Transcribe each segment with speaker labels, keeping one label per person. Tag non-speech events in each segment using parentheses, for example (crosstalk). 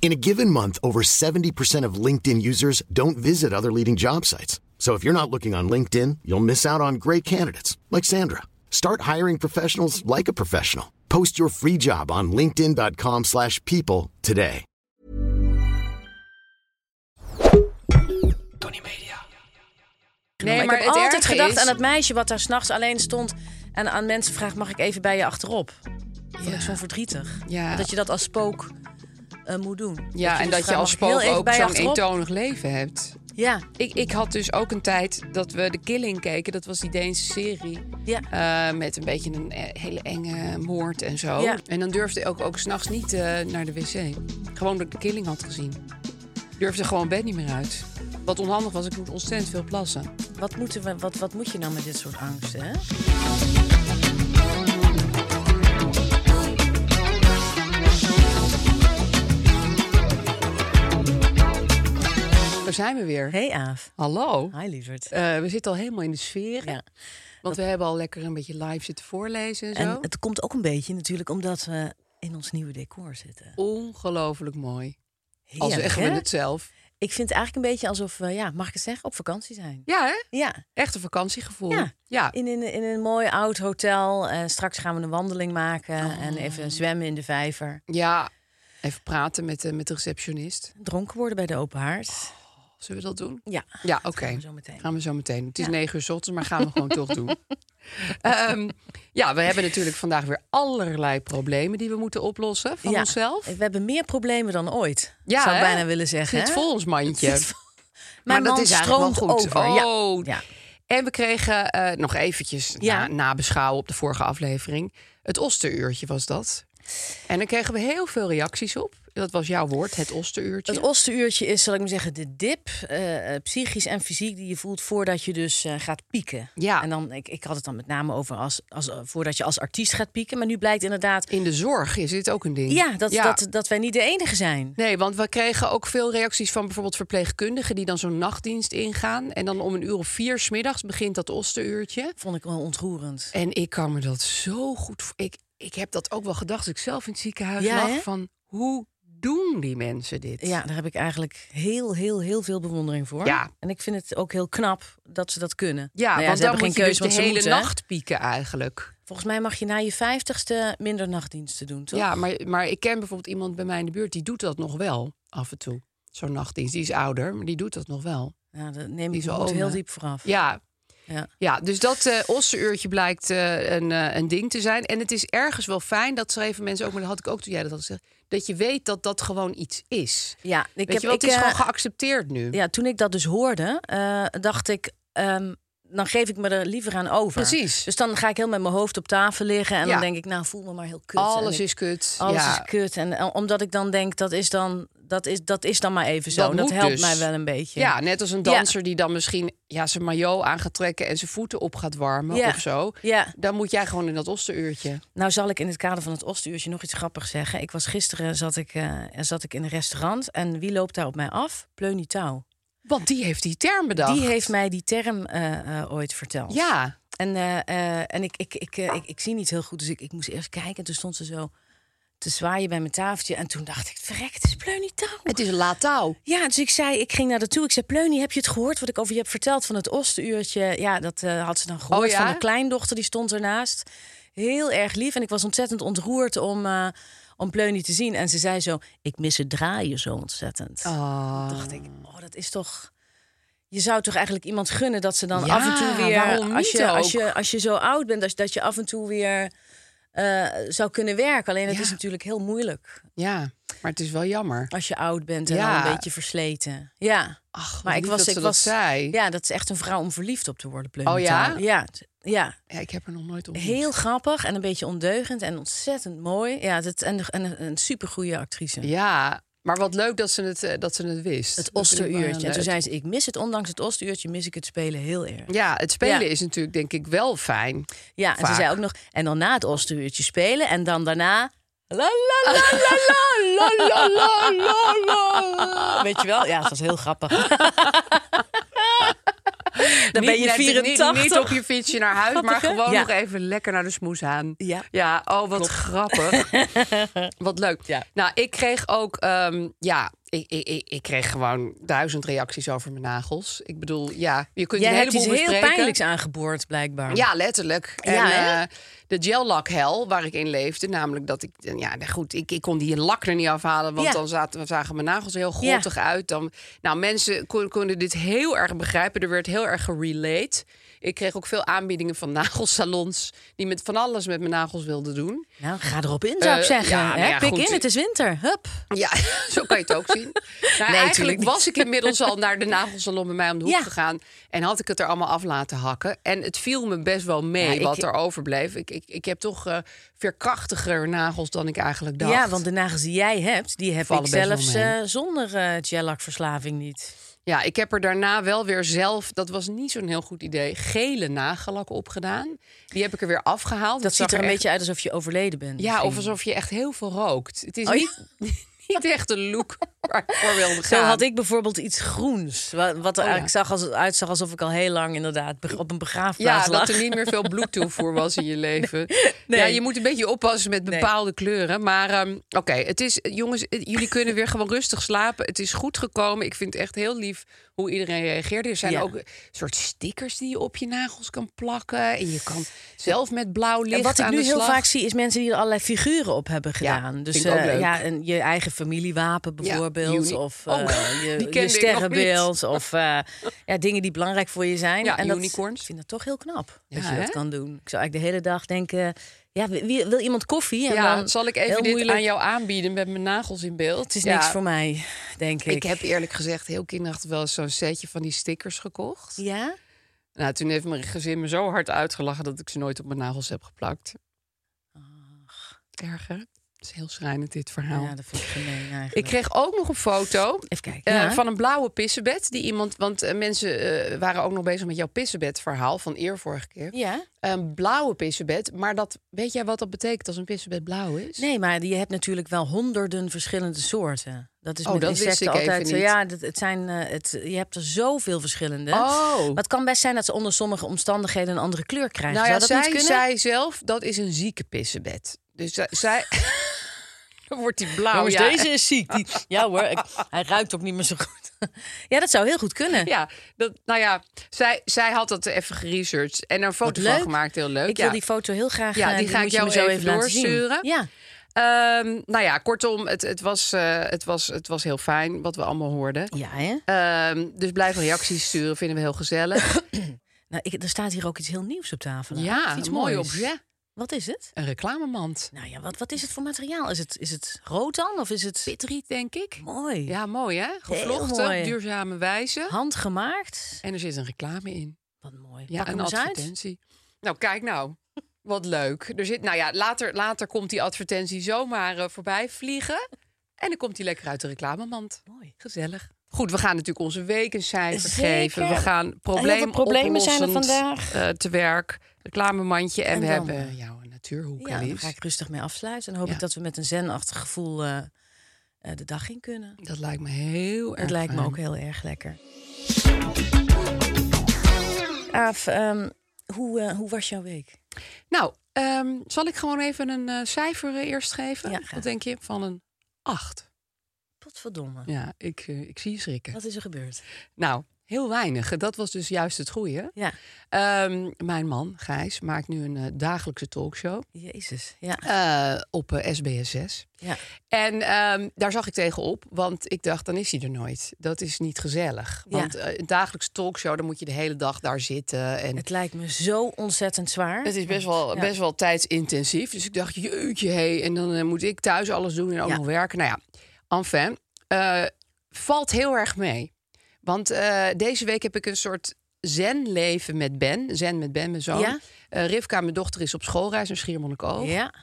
Speaker 1: In a given month, over 70% of LinkedIn users don't visit other leading job sites. So if you're not looking on LinkedIn, you'll miss out on great candidates like Sandra. Start hiring professionals like a professional. Post your free job on linkedin.com slash people today.
Speaker 2: Tony Media.
Speaker 3: Nee,
Speaker 4: Ik
Speaker 3: maar
Speaker 4: heb
Speaker 3: het
Speaker 4: altijd
Speaker 3: erg
Speaker 4: gedacht
Speaker 3: is-
Speaker 4: aan dat meisje wat daar s'nachts alleen stond. En aan mensen vraagt, mag ik even bij je achterop? Dat vond
Speaker 3: Ja.
Speaker 4: ik zo verdrietig.
Speaker 3: Ja.
Speaker 4: Dat je dat als spook eh, moet doen.
Speaker 3: Ja, en
Speaker 4: dus
Speaker 3: dat je
Speaker 4: vraagt,
Speaker 3: als
Speaker 4: mag ik heel
Speaker 3: spook
Speaker 4: even
Speaker 3: ook
Speaker 4: bij je
Speaker 3: zo'n
Speaker 4: achterop?
Speaker 3: eentonig leven hebt.
Speaker 4: Ja,
Speaker 3: Ik, ik had dus ook een tijd dat we The Killing keken. Dat was die Deense serie.
Speaker 4: ja.
Speaker 3: Eh, met een beetje een eh, hele enge moord en zo.
Speaker 4: Ja.
Speaker 3: En dan durfde ik ook, ook s'nachts niet eh, naar de wc. Gewoon dat ik de killing had gezien. Durfde gewoon bed niet meer uit. Wat onhandig was, ik moet ontzettend veel plassen.
Speaker 4: Wat, moeten we, wat, wat moet je nou met dit soort angsten, hè?
Speaker 3: Daar zijn we weer.
Speaker 4: Hey Aaf.
Speaker 3: Hallo.
Speaker 4: Hi lieverd.
Speaker 3: Eh, we zitten al helemaal in de sfeer.
Speaker 4: Ja.
Speaker 3: Want we hebben al lekker een beetje live zitten voorlezen en zo.
Speaker 4: En het komt ook een beetje natuurlijk omdat we in ons nieuwe decor zitten.
Speaker 3: Ongelooflijk mooi. Als
Speaker 4: Heerlijk,
Speaker 3: zeggen
Speaker 4: hè?
Speaker 3: we het zelf.
Speaker 4: Ik vind het eigenlijk een beetje alsof we, ja, mag ik het zeggen, op vakantie zijn.
Speaker 3: Ja, hè?
Speaker 4: Ja.
Speaker 3: Echt een vakantiegevoel.
Speaker 4: Ja.
Speaker 3: ja.
Speaker 4: In, in, in een mooi oud hotel. Eh, straks gaan we een wandeling maken
Speaker 3: Oh.
Speaker 4: en even zwemmen in de vijver.
Speaker 3: Ja. Even praten met, de- met de receptionist.
Speaker 4: Dronken worden bij de open haard.
Speaker 3: Zullen we dat doen?
Speaker 4: Ja,
Speaker 3: Ja, oké.
Speaker 4: dat gaan we zo meteen.
Speaker 3: Gaan we zo meteen. Het is negen uur 's ochtends, maar gaan we gewoon toch doen.
Speaker 4: (laughs)
Speaker 3: Ehm, ja, we hebben natuurlijk vandaag weer allerlei problemen die we moeten oplossen van
Speaker 4: Ja.
Speaker 3: onszelf.
Speaker 4: We hebben meer problemen dan ooit.
Speaker 3: Ja,
Speaker 4: zou ik
Speaker 3: hè?
Speaker 4: bijna willen zeggen.
Speaker 3: Zit
Speaker 4: hè?
Speaker 3: vol ons mandje.
Speaker 4: Zit vol. Mijn
Speaker 3: dat
Speaker 4: man
Speaker 3: is eigenlijk wel
Speaker 4: stroomt
Speaker 3: goed.
Speaker 4: over. Ja,
Speaker 3: Oh.
Speaker 4: ja.
Speaker 3: En we kregen eh, nog eventjes
Speaker 4: Ja.
Speaker 3: na, nabeschouwen op de vorige aflevering. Het osteruurtje was dat. En daar kregen we heel veel reacties op. Dat was jouw woord, het osteruurtje.
Speaker 4: Het ostenuurtje is, zal ik maar zeggen, de dip, eh, eh, psychisch en fysiek, die je voelt voordat je dus eh, gaat pieken.
Speaker 3: Ja.
Speaker 4: En dan, ik, ik had het dan met name over als, als, eh, voordat je als artiest gaat pieken. Maar nu blijkt inderdaad,
Speaker 3: In de zorg is dit ook een ding.
Speaker 4: ja, dat, Dat, dat wij niet de enige zijn.
Speaker 3: Nee, want we kregen ook veel reacties van bijvoorbeeld verpleegkundigen die dan zo'n nachtdienst ingaan. En dan om een uur of vier 's middags begint dat osteruurtje.
Speaker 4: Vond ik wel ontroerend.
Speaker 3: En ik kan me dat zo goed. vo- Ik, ik heb dat ook wel gedacht als ik zelf in het ziekenhuis
Speaker 4: Ja,
Speaker 3: lag.
Speaker 4: hè?
Speaker 3: Van hoe doen die mensen dit?
Speaker 4: Ja, daar heb ik eigenlijk heel, heel, heel veel bewondering voor.
Speaker 3: Ja.
Speaker 4: En ik vind het ook heel knap dat ze dat kunnen.
Speaker 3: Ja,
Speaker 4: Nou
Speaker 3: want
Speaker 4: ze
Speaker 3: dan
Speaker 4: hebben
Speaker 3: moet
Speaker 4: geen
Speaker 3: je
Speaker 4: keuze,
Speaker 3: dus
Speaker 4: want
Speaker 3: de
Speaker 4: ze
Speaker 3: hele
Speaker 4: moeten, hè?
Speaker 3: nacht pieken eigenlijk.
Speaker 4: Volgens mij mag je na je vijftigste minder nachtdiensten doen, toch?
Speaker 3: Ja, maar, maar ik ken bijvoorbeeld iemand bij mij in de buurt die doet dat nog wel af en toe. Zo'n nachtdienst, die is ouder, maar die doet dat nog wel.
Speaker 4: Ja, dat neem
Speaker 3: Die
Speaker 4: ik
Speaker 3: is
Speaker 4: moet
Speaker 3: oma.
Speaker 4: heel diep vooraf.
Speaker 3: Ja,
Speaker 4: Ja.
Speaker 3: ja dus dat eh ossenuurtje blijkt eh, een, eh, een ding te zijn. En het is ergens wel fijn, dat schreven mensen ook, maar dat had ik ook toen jij dat had gezegd, dat je weet dat dat gewoon iets is.
Speaker 4: Ja, ik
Speaker 3: Weet
Speaker 4: heb-
Speaker 3: je wel,
Speaker 4: ik,
Speaker 3: het is
Speaker 4: eh,
Speaker 3: gewoon geaccepteerd nu.
Speaker 4: ja, toen ik dat dus hoorde, eh, dacht ik, ehm, dan geef ik me er liever aan over.
Speaker 3: Precies.
Speaker 4: Dus dan ga ik heel met mijn hoofd op tafel liggen en
Speaker 3: Ja.
Speaker 4: dan denk ik, nou voel me maar heel kut.
Speaker 3: Alles
Speaker 4: En ik-
Speaker 3: is kut.
Speaker 4: alles
Speaker 3: ja.
Speaker 4: is kut. En eh, omdat ik dan denk, dat is dan, dat is, dat is dan maar even zo.
Speaker 3: Dat
Speaker 4: en dat
Speaker 3: moet
Speaker 4: helpt
Speaker 3: dus.
Speaker 4: mij wel een beetje.
Speaker 3: Ja, net als een
Speaker 4: Ja.
Speaker 3: danser die dan misschien ja, zijn maillot aan gaat trekken en zijn voeten op gaat warmen
Speaker 4: Ja.
Speaker 3: of zo.
Speaker 4: Ja.
Speaker 3: Dan moet jij gewoon in dat osteruurtje.
Speaker 4: Nou zal ik in het kader van het Ostuurtje nog iets grappigs zeggen. Ik was gisteren zat ik, eh, zat ik in een restaurant en wie loopt daar op mij af? Pleunie Touw.
Speaker 3: Want die heeft die term bedacht. Oh.
Speaker 4: Die heeft mij die term eh, eh, ooit verteld.
Speaker 3: Ja,
Speaker 4: En, eh, eh, en ik, ik, ik, eh, ik, ik zie niet heel goed, dus ik, ik moest eerst kijken. En toen stond ze zo te zwaaien bij mijn tafeltje. En toen dacht ik, verrek, het is Pleunie Touw.
Speaker 3: het is Latau.
Speaker 4: Ja, dus ik zei, ik ging naar haar toe. Ik zei, Pleunie, heb je het gehoord wat ik over je heb verteld van het Ostenuurtje? Ja, dat eh, had ze dan gehoord
Speaker 3: Oh ja?
Speaker 4: van haar kleindochter, die stond ernaast. Heel erg lief en ik was ontzettend ontroerd om, eh, om Pleunie te zien. En ze zei zo, ik mis het draaien zo ontzettend. Toen dacht ik, oh, dat is toch... Je zou toch eigenlijk iemand gunnen dat ze dan
Speaker 3: Ja,
Speaker 4: af en toe
Speaker 3: waarom
Speaker 4: weer... Als
Speaker 3: niet
Speaker 4: je,
Speaker 3: ook?
Speaker 4: als, je, als je zo oud bent, dat, dat je af en toe weer eh, zou kunnen werken. Alleen dat
Speaker 3: Ja.
Speaker 4: is natuurlijk heel moeilijk
Speaker 3: Ja, maar het is wel jammer.
Speaker 4: als je oud bent en
Speaker 3: Ja.
Speaker 4: al een beetje versleten. Ja.
Speaker 3: Ach, maar ik was, dat ze dat zei. Ja.
Speaker 4: Ja, dat is echt een vrouw om verliefd op te worden, Pleunie
Speaker 3: Oh ja?
Speaker 4: Taal. Ja, t- ja.
Speaker 3: ik heb er nog nooit op.
Speaker 4: Heel grappig en een beetje ondeugend en ontzettend mooi. Ja, dat, en, en een, een supergoeie actrice.
Speaker 3: Ja, Maar wat leuk dat ze het, eh, dat ze het wist.
Speaker 4: Het
Speaker 3: Dat vind ik wel heel
Speaker 4: osteruurtje. En toen
Speaker 3: leuk.
Speaker 4: zei ze, ik mis het, ondanks het osteruurtje mis ik het spelen heel erg.
Speaker 3: Ja, het spelen
Speaker 4: Ja.
Speaker 3: is natuurlijk denk ik wel fijn.
Speaker 4: Ja, en ze
Speaker 3: Vaak.
Speaker 4: zei ook nog, en dan na het osteruurtje spelen en dan daarna... La la
Speaker 3: (laughs)
Speaker 4: la la la la la la la la. Weet je wel? Ja, het was heel
Speaker 3: (laughs)
Speaker 4: grappig. Dan ben
Speaker 3: Niet
Speaker 4: je
Speaker 3: net- niet-
Speaker 4: 84.
Speaker 3: Niet, op je fietsje naar huis, maar
Speaker 4: Grappig, hè?
Speaker 3: gewoon
Speaker 4: Ja.
Speaker 3: nog even lekker naar de smoes aan.
Speaker 4: Ja.
Speaker 3: ja oh, wat
Speaker 4: (laughs)
Speaker 3: grappig. wat leuk.
Speaker 4: Ja.
Speaker 3: Nou, ik kreeg ook... ehm, ja, ik, ik, ik, ik kreeg gewoon duizend reacties over mijn nagels. Ik bedoel, ja, je kunt
Speaker 4: Jij
Speaker 3: een
Speaker 4: hebt
Speaker 3: heleboel
Speaker 4: iets heel
Speaker 3: bespreken.
Speaker 4: pijnlijks aangeboord, blijkbaar.
Speaker 3: Ja, letterlijk. En
Speaker 4: Ja, hè?
Speaker 3: eh, de gel lak hel waar ik in leefde, namelijk dat ik, ja, nou goed, ik, ik kon die lak er niet afhalen, want
Speaker 4: Ja.
Speaker 3: dan zaten, zagen mijn nagels er heel
Speaker 4: Ja.
Speaker 3: grottig uit. Dan, nou, mensen kon- konden dit heel erg begrijpen. Er werd heel erg gerelate. Ik kreeg ook veel aanbiedingen van nagelsalons die met van alles met mijn nagels wilden doen.
Speaker 4: Nou, ga erop in, zou ik
Speaker 3: Eh,
Speaker 4: zeggen.
Speaker 3: ja, nou
Speaker 4: Hè,
Speaker 3: ja,
Speaker 4: Pik
Speaker 3: goed.
Speaker 4: in, het is winter. Hup.
Speaker 3: Ja, (laughs) zo kan je het ook zien. Nou,
Speaker 4: (laughs) Nee, tuurlijk
Speaker 3: eigenlijk
Speaker 4: niet.
Speaker 3: was ik inmiddels
Speaker 4: (laughs)
Speaker 3: al naar de nagelsalon bij mij om de hoek
Speaker 4: Ja.
Speaker 3: gegaan. En had ik het er allemaal af laten hakken. En het viel me best wel mee
Speaker 4: Ja, ik-
Speaker 3: wat er overbleef. Ik, ik, ik heb toch eh veerkrachtiger nagels dan ik eigenlijk dacht.
Speaker 4: Ja, want de nagels die jij hebt, die heb
Speaker 3: Vallen
Speaker 4: ik
Speaker 3: best wel
Speaker 4: zelfs
Speaker 3: mee.
Speaker 4: eh, zonder eh gellakverslaving niet.
Speaker 3: Ja, ik heb er daarna wel weer zelf, dat was niet zo'n heel goed idee, gele nagellak opgedaan. Die heb ik er weer afgehaald.
Speaker 4: Dat
Speaker 3: Het
Speaker 4: ziet
Speaker 3: zag
Speaker 4: er een
Speaker 3: echt-
Speaker 4: beetje uit alsof je overleden bent.
Speaker 3: Ja, of
Speaker 4: misschien.
Speaker 3: alsof je echt heel veel rookt. Het is
Speaker 4: Oh, ja.
Speaker 3: niet, niet echt een look waar ik voor wilde gaan.
Speaker 4: (laughs) Zo had ik bijvoorbeeld iets groens. wa- Wat er
Speaker 3: Oh
Speaker 4: eigenlijk zag als, uitzag alsof ik al heel lang inderdaad be- op een begraafplaats
Speaker 3: Ja,
Speaker 4: lag.
Speaker 3: dat er niet meer veel bloedtoevoer was in je leven.
Speaker 4: (laughs) nee.
Speaker 3: Ja, je moet een beetje oppassen met
Speaker 4: Nee.
Speaker 3: bepaalde kleuren. Maar ehm, oké, het is, jongens, eh, jullie kunnen weer gewoon rustig slapen. Het is goed gekomen. Ik vind het echt heel lief hoe iedereen reageert. Er zijn
Speaker 4: Ja.
Speaker 3: ook een soort stickers die je op je nagels kan plakken. En je kan zelf met blauw licht
Speaker 4: En wat ik
Speaker 3: aan
Speaker 4: nu
Speaker 3: de
Speaker 4: heel
Speaker 3: slag.
Speaker 4: vaak zie, is mensen die er allerlei figuren op hebben gedaan. dus
Speaker 3: vind ik ook
Speaker 4: eh,
Speaker 3: leuk.
Speaker 4: ja, en je eigen familiewapen bijvoorbeeld.
Speaker 3: uni-
Speaker 4: of
Speaker 3: Oh,
Speaker 4: eh,
Speaker 3: (laughs) die kende
Speaker 4: je,
Speaker 3: ik nog
Speaker 4: je
Speaker 3: niet. (laughs)
Speaker 4: sterrenbeeld. Of eh, ja, dingen die belangrijk voor je zijn.
Speaker 3: Ja,
Speaker 4: dat-
Speaker 3: unicorns.
Speaker 4: Ik vind dat toch heel knap dat
Speaker 3: Ja,
Speaker 4: je dat
Speaker 3: hè?
Speaker 4: kan doen. Ik zou eigenlijk de hele dag denken... Ja, wie- wie- wil iemand koffie? En
Speaker 3: Ja,
Speaker 4: dan
Speaker 3: zal ik
Speaker 4: heel
Speaker 3: even dit
Speaker 4: moeilijk,
Speaker 3: aan jou aanbieden met mijn nagels in beeld?
Speaker 4: Het is
Speaker 3: Ja.
Speaker 4: niks voor mij, denk ik.
Speaker 3: Ik heb eerlijk gezegd heel kinderachtig wel eens zo'n setje van die stickers gekocht.
Speaker 4: Ja?
Speaker 3: Nou, toen heeft mijn gezin me zo hard uitgelachen dat ik ze nooit op mijn nagels heb geplakt. Erg, hè? Het is heel schrijnend, dit verhaal.
Speaker 4: Ja, dat vind ik gemeen eigenlijk.
Speaker 3: Nou. ik kreeg ook nog een foto
Speaker 4: Even kijken.
Speaker 3: eh,
Speaker 4: ja.
Speaker 3: van een blauwe pissenbed. Die iemand, want eh, mensen eh, waren ook nog bezig met jouw pissenbed-verhaal van eer vorige keer.
Speaker 4: ja.
Speaker 3: Een blauwe pissenbed, maar dat, weet jij wat dat betekent als een pissenbed blauw is?
Speaker 4: Nee, maar je hebt natuurlijk wel honderden verschillende soorten. Dat is
Speaker 3: Oh,
Speaker 4: met
Speaker 3: dat wist
Speaker 4: insecten
Speaker 3: ik even
Speaker 4: altijd. zo.
Speaker 3: niet.
Speaker 4: Ja, dat, het zijn, eh, het, je hebt er zoveel verschillende.
Speaker 3: Oh.
Speaker 4: Maar het kan best zijn dat ze onder sommige omstandigheden een andere kleur krijgen.
Speaker 3: Nou ja,
Speaker 4: Zou dat niet
Speaker 3: zij
Speaker 4: kunnen?
Speaker 3: zei zelf, dat is een zieke pissenbed. Dus zij... zij... (laughs) Dan wordt die blauw,
Speaker 4: Jongens,
Speaker 3: Nou ja.
Speaker 4: deze is ziek. Die, (laughs) ja hoor, ik- hij ruikt ook niet meer zo goed. ja, dat zou heel goed kunnen.
Speaker 3: Ja, dat, nou ja, zij, zij had dat even geresearched en er een foto van
Speaker 4: leuk.
Speaker 3: gemaakt. Heel leuk.
Speaker 4: Ik
Speaker 3: ja.
Speaker 4: wil die foto heel graag.
Speaker 3: Ja,
Speaker 4: eh,
Speaker 3: die ga
Speaker 4: moet
Speaker 3: ik
Speaker 4: je
Speaker 3: jou
Speaker 4: me zo
Speaker 3: even
Speaker 4: even laten zien.
Speaker 3: doorsturen.
Speaker 4: Ja.
Speaker 3: Ehm, nou ja, kortom, het, het, was, eh, het, was, het was heel fijn wat we allemaal hoorden.
Speaker 4: ja, hè?
Speaker 3: Ehm, dus blijf reacties sturen, vinden we heel
Speaker 4: (laughs)
Speaker 3: gezellig.
Speaker 4: Nou, ik, er staat hier ook iets heel nieuws op tafel.
Speaker 3: ja,
Speaker 4: iets
Speaker 3: een mooi
Speaker 4: moois.
Speaker 3: objet.
Speaker 4: Wat is het?
Speaker 3: Een reclamemand.
Speaker 4: Nou ja, wat, wat is het voor materiaal? Is het, is het rood dan? Of is het
Speaker 3: Pitriet, denk ik.
Speaker 4: mooi?
Speaker 3: Ja, mooi hè? Gevlochten,
Speaker 4: mooi.
Speaker 3: op duurzame wijze.
Speaker 4: Handgemaakt?
Speaker 3: En er zit een reclame in.
Speaker 4: Wat mooi.
Speaker 3: Ja,
Speaker 4: Pak hem
Speaker 3: een
Speaker 4: eens uit.
Speaker 3: advertentie. Nou, kijk nou. Wat leuk. Er zit, nou ja, later, later komt die advertentie zomaar eh, voorbij vliegen. En dan komt die lekker uit de reclamemand.
Speaker 4: Mooi.
Speaker 3: Gezellig. Goed, we gaan natuurlijk onze week een cijfer
Speaker 4: Zeker.
Speaker 3: geven. We gaan probleem
Speaker 4: problemen zijn er
Speaker 3: oplossend,
Speaker 4: vandaag.
Speaker 3: eh, te werk. Reclamemandje. En,
Speaker 4: En
Speaker 3: we
Speaker 4: dan,
Speaker 3: hebben
Speaker 4: eh,
Speaker 3: jouw natuurhoek,
Speaker 4: Ja, daar
Speaker 3: Alice.
Speaker 4: ga ik rustig mee afsluiten. En hoop
Speaker 3: Ja.
Speaker 4: ik dat we met een zenachtig gevoel eh, eh, de dag in kunnen.
Speaker 3: Dat lijkt me heel erg
Speaker 4: Het lijkt me
Speaker 3: fijn.
Speaker 4: ook heel erg lekker. Aaf, ehm, hoe, eh, hoe was jouw week?
Speaker 3: Nou, ehm, zal ik gewoon even een eh, cijfer eh, eerst geven?
Speaker 4: Ja, graag.
Speaker 3: Wat denk je? Van een 8.
Speaker 4: Potverdomme.
Speaker 3: Ja, ik, eh, ik zie je schrikken.
Speaker 4: Wat is er gebeurd?
Speaker 3: Nou, heel weinig. Dat was dus juist het goede.
Speaker 4: Ja,
Speaker 3: Ehm, mijn man, Gijs, maakt nu een eh, dagelijkse talkshow
Speaker 4: jezus. Ja,
Speaker 3: eh, op eh, SBS6.
Speaker 4: ja.
Speaker 3: En ehm, daar zag ik tegenop, want ik dacht, dan is hij er nooit. Dat is niet gezellig.
Speaker 4: Ja.
Speaker 3: Want eh, een dagelijkse talkshow, dan moet je de hele dag daar zitten. En
Speaker 4: Het lijkt me zo ontzettend zwaar.
Speaker 3: het is best wel,
Speaker 4: Ja.
Speaker 3: best wel tijdsintensief. Dus ik dacht, jeutje, hé. En dan eh, moet ik thuis alles doen en ook
Speaker 4: Ja.
Speaker 3: nog werken. Nou ja, enfin, eh, valt heel erg mee. Want eh, deze week heb ik een soort zen-leven met Ben. Zen met Ben, mijn zoon.
Speaker 4: Ja.
Speaker 3: Eh, Rivka, mijn dochter, is op schoolreis naar Schiermonnikoog.
Speaker 4: Ja,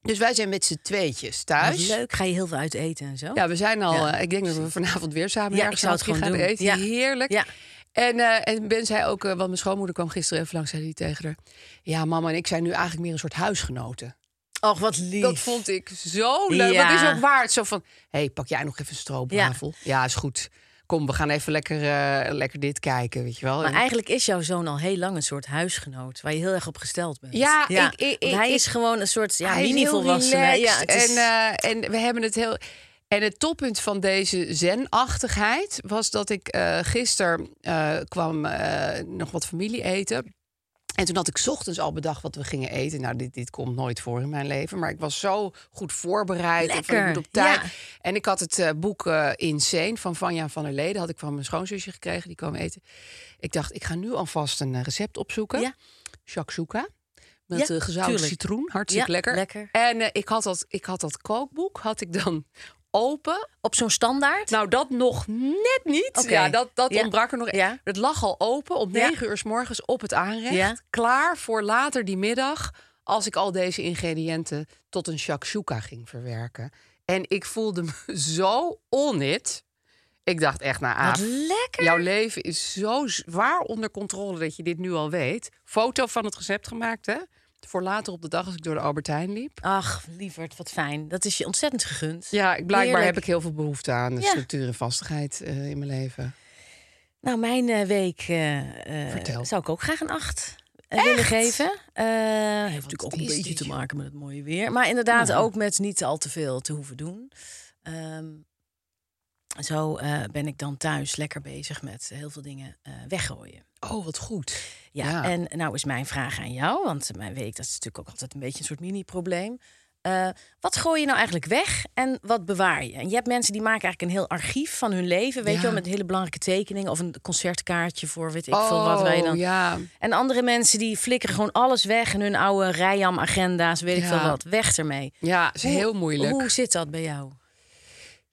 Speaker 3: Dus wij zijn met z'n tweetjes
Speaker 4: Wat
Speaker 3: thuis.
Speaker 4: Leuk, ga je heel veel uit eten en zo?
Speaker 3: Ja, we zijn al.
Speaker 4: Oh. Ja.
Speaker 3: eh, ik denk dat we vanavond weer samen
Speaker 4: Ja,
Speaker 3: ergens
Speaker 4: ik zou het
Speaker 3: hapje
Speaker 4: gewoon
Speaker 3: gaan
Speaker 4: doen.
Speaker 3: eten.
Speaker 4: Ja.
Speaker 3: Heerlijk.
Speaker 4: Ja.
Speaker 3: En, eh, en Ben zei ook, eh, want mijn schoonmoeder kwam gisteren even langs, zei die tegen haar... Ja, mama en ik zijn nu eigenlijk meer een soort huisgenoten.
Speaker 4: Och, wat lief.
Speaker 3: Dat vond ik zo leuk.
Speaker 4: Ja.
Speaker 3: Dat is ook waard. Zo van, hé, hey, pak jij nog even een stroopwafel? Ja. is goed. Kom, we gaan even lekker, eh, lekker dit kijken, weet je wel.
Speaker 4: Maar
Speaker 3: En-
Speaker 4: eigenlijk is jouw zoon al heel lang een soort huisgenoot waar je heel erg op gesteld bent.
Speaker 3: Ja, ik- ik-
Speaker 4: Want
Speaker 3: ik-
Speaker 4: hij
Speaker 3: ik-
Speaker 4: is gewoon een soort ja,
Speaker 3: Hij is heel
Speaker 4: mini-volwassene. Ja,
Speaker 3: relaxed.
Speaker 4: het
Speaker 3: en,
Speaker 4: is-
Speaker 3: eh, en we hebben het heel. En het toppunt van deze zenachtigheid was dat ik eh, gisteren eh, kwam eh, nog wat familie eten. En toen had ik 's ochtends al bedacht wat we gingen eten. Nou, dit, dit komt nooit voor in mijn leven. Maar ik was zo goed voorbereid. en van, ik
Speaker 4: Lekker,
Speaker 3: moet op tijd.
Speaker 4: ja.
Speaker 3: En ik had het eh, boek eh, Insane van Vanja van der Leden. Had ik van mijn schoonzusje gekregen. Die kwam eten. Ik dacht, ik ga nu alvast een eh, recept opzoeken.
Speaker 4: Ja.
Speaker 3: Shakshuka. Met
Speaker 4: Ja,
Speaker 3: eh, gezouten
Speaker 4: tuurlijk.
Speaker 3: citroen. Hartstikke
Speaker 4: Ja,
Speaker 3: lekker.
Speaker 4: lekker.
Speaker 3: En eh, ik, had dat, ik had dat kookboek, had ik dan open.
Speaker 4: op zo'n standaard.
Speaker 3: Nou, dat nog net niet.
Speaker 4: Oké.
Speaker 3: Ja, dat, dat
Speaker 4: Ja.
Speaker 3: ontbrak er nog.
Speaker 4: Ja.
Speaker 3: Het lag al open om
Speaker 4: Ja.
Speaker 3: negen uur 's morgens op het aanrecht.
Speaker 4: Ja.
Speaker 3: Klaar voor later die middag. Als ik al deze ingrediënten tot een shakshuka ging verwerken. En ik voelde me (laughs) zo onnit. Ik dacht echt, nou
Speaker 4: wat
Speaker 3: Aaf,
Speaker 4: lekker.
Speaker 3: jouw leven is zo zwaar onder controle dat je dit nu al weet. Foto van het recept gemaakt, hè? Voor later op de dag als ik door de Albert Heijn liep.
Speaker 4: Ach, lieverd, wat fijn. Dat is je ontzettend gegund.
Speaker 3: Ja, ik- blijkbaar
Speaker 4: Heerlijk.
Speaker 3: heb ik heel veel behoefte aan de
Speaker 4: Ja.
Speaker 3: structuur en vastigheid eh, in mijn leven.
Speaker 4: Nou, mijn eh, week eh, eh,
Speaker 3: Vertel.
Speaker 4: zou ik ook graag een acht eh, willen geven. Eh, heeft natuurlijk ook
Speaker 3: wat
Speaker 4: een
Speaker 3: is
Speaker 4: beetje
Speaker 3: dit,
Speaker 4: te
Speaker 3: joh?
Speaker 4: maken met het mooie weer. Maar inderdaad ook met niet al te veel te hoeven doen. Ehm, zo eh, ben ik dan thuis lekker bezig met heel veel dingen eh, weggooien.
Speaker 3: Oh, wat goed.
Speaker 4: Ja,
Speaker 3: Ja.
Speaker 4: en nou is mijn vraag aan jou, want eh, mijn week dat is natuurlijk ook altijd een beetje een soort mini-probleem. Eh, wat gooi je nou eigenlijk weg en wat bewaar je? En je hebt mensen die maken eigenlijk een heel archief van hun leven, weet
Speaker 3: Ja.
Speaker 4: je wel, met hele belangrijke tekeningen of een concertkaartje voor weet ik veel wat wij dan.
Speaker 3: Oh, ja.
Speaker 4: En andere mensen die flikkeren gewoon alles weg en hun oude Rijam-agenda's, weet ik
Speaker 3: Ja.
Speaker 4: veel wat, weg ermee.
Speaker 3: Ja, is
Speaker 4: Hoe-
Speaker 3: heel moeilijk.
Speaker 4: Hoe zit dat bij jou?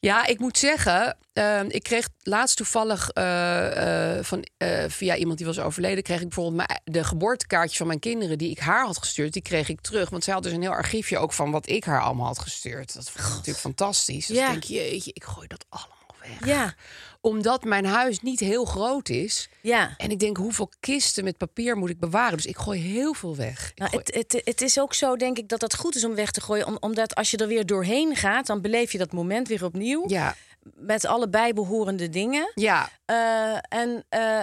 Speaker 3: Ja, ik moet zeggen, ehm, ik kreeg laatst toevallig eh, eh, van, eh, via iemand die was overleden, kreeg ik bijvoorbeeld mijn- e-, de geboortekaartjes van mijn kinderen die ik haar had gestuurd, die kreeg ik terug. Want zij had dus een heel archiefje ook van wat ik haar allemaal had gestuurd. Dat vond ik natuurlijk fantastisch. Dus
Speaker 4: Ja.
Speaker 3: ik denk jeetje, ik gooi dat allemaal weg.
Speaker 4: Ja,
Speaker 3: Omdat mijn huis niet heel groot is.
Speaker 4: ja.
Speaker 3: En ik denk, hoeveel kisten met papier moet ik bewaren? Dus ik gooi heel veel weg. Ik
Speaker 4: Nou,
Speaker 3: gooi-
Speaker 4: het, het, het is ook zo, denk ik, dat het goed is om weg te gooien. om- omdat als je er weer doorheen gaat, dan beleef je dat moment weer opnieuw.
Speaker 3: Ja,
Speaker 4: Met alle bijbehorende dingen.
Speaker 3: ja.
Speaker 4: Eh, en eh,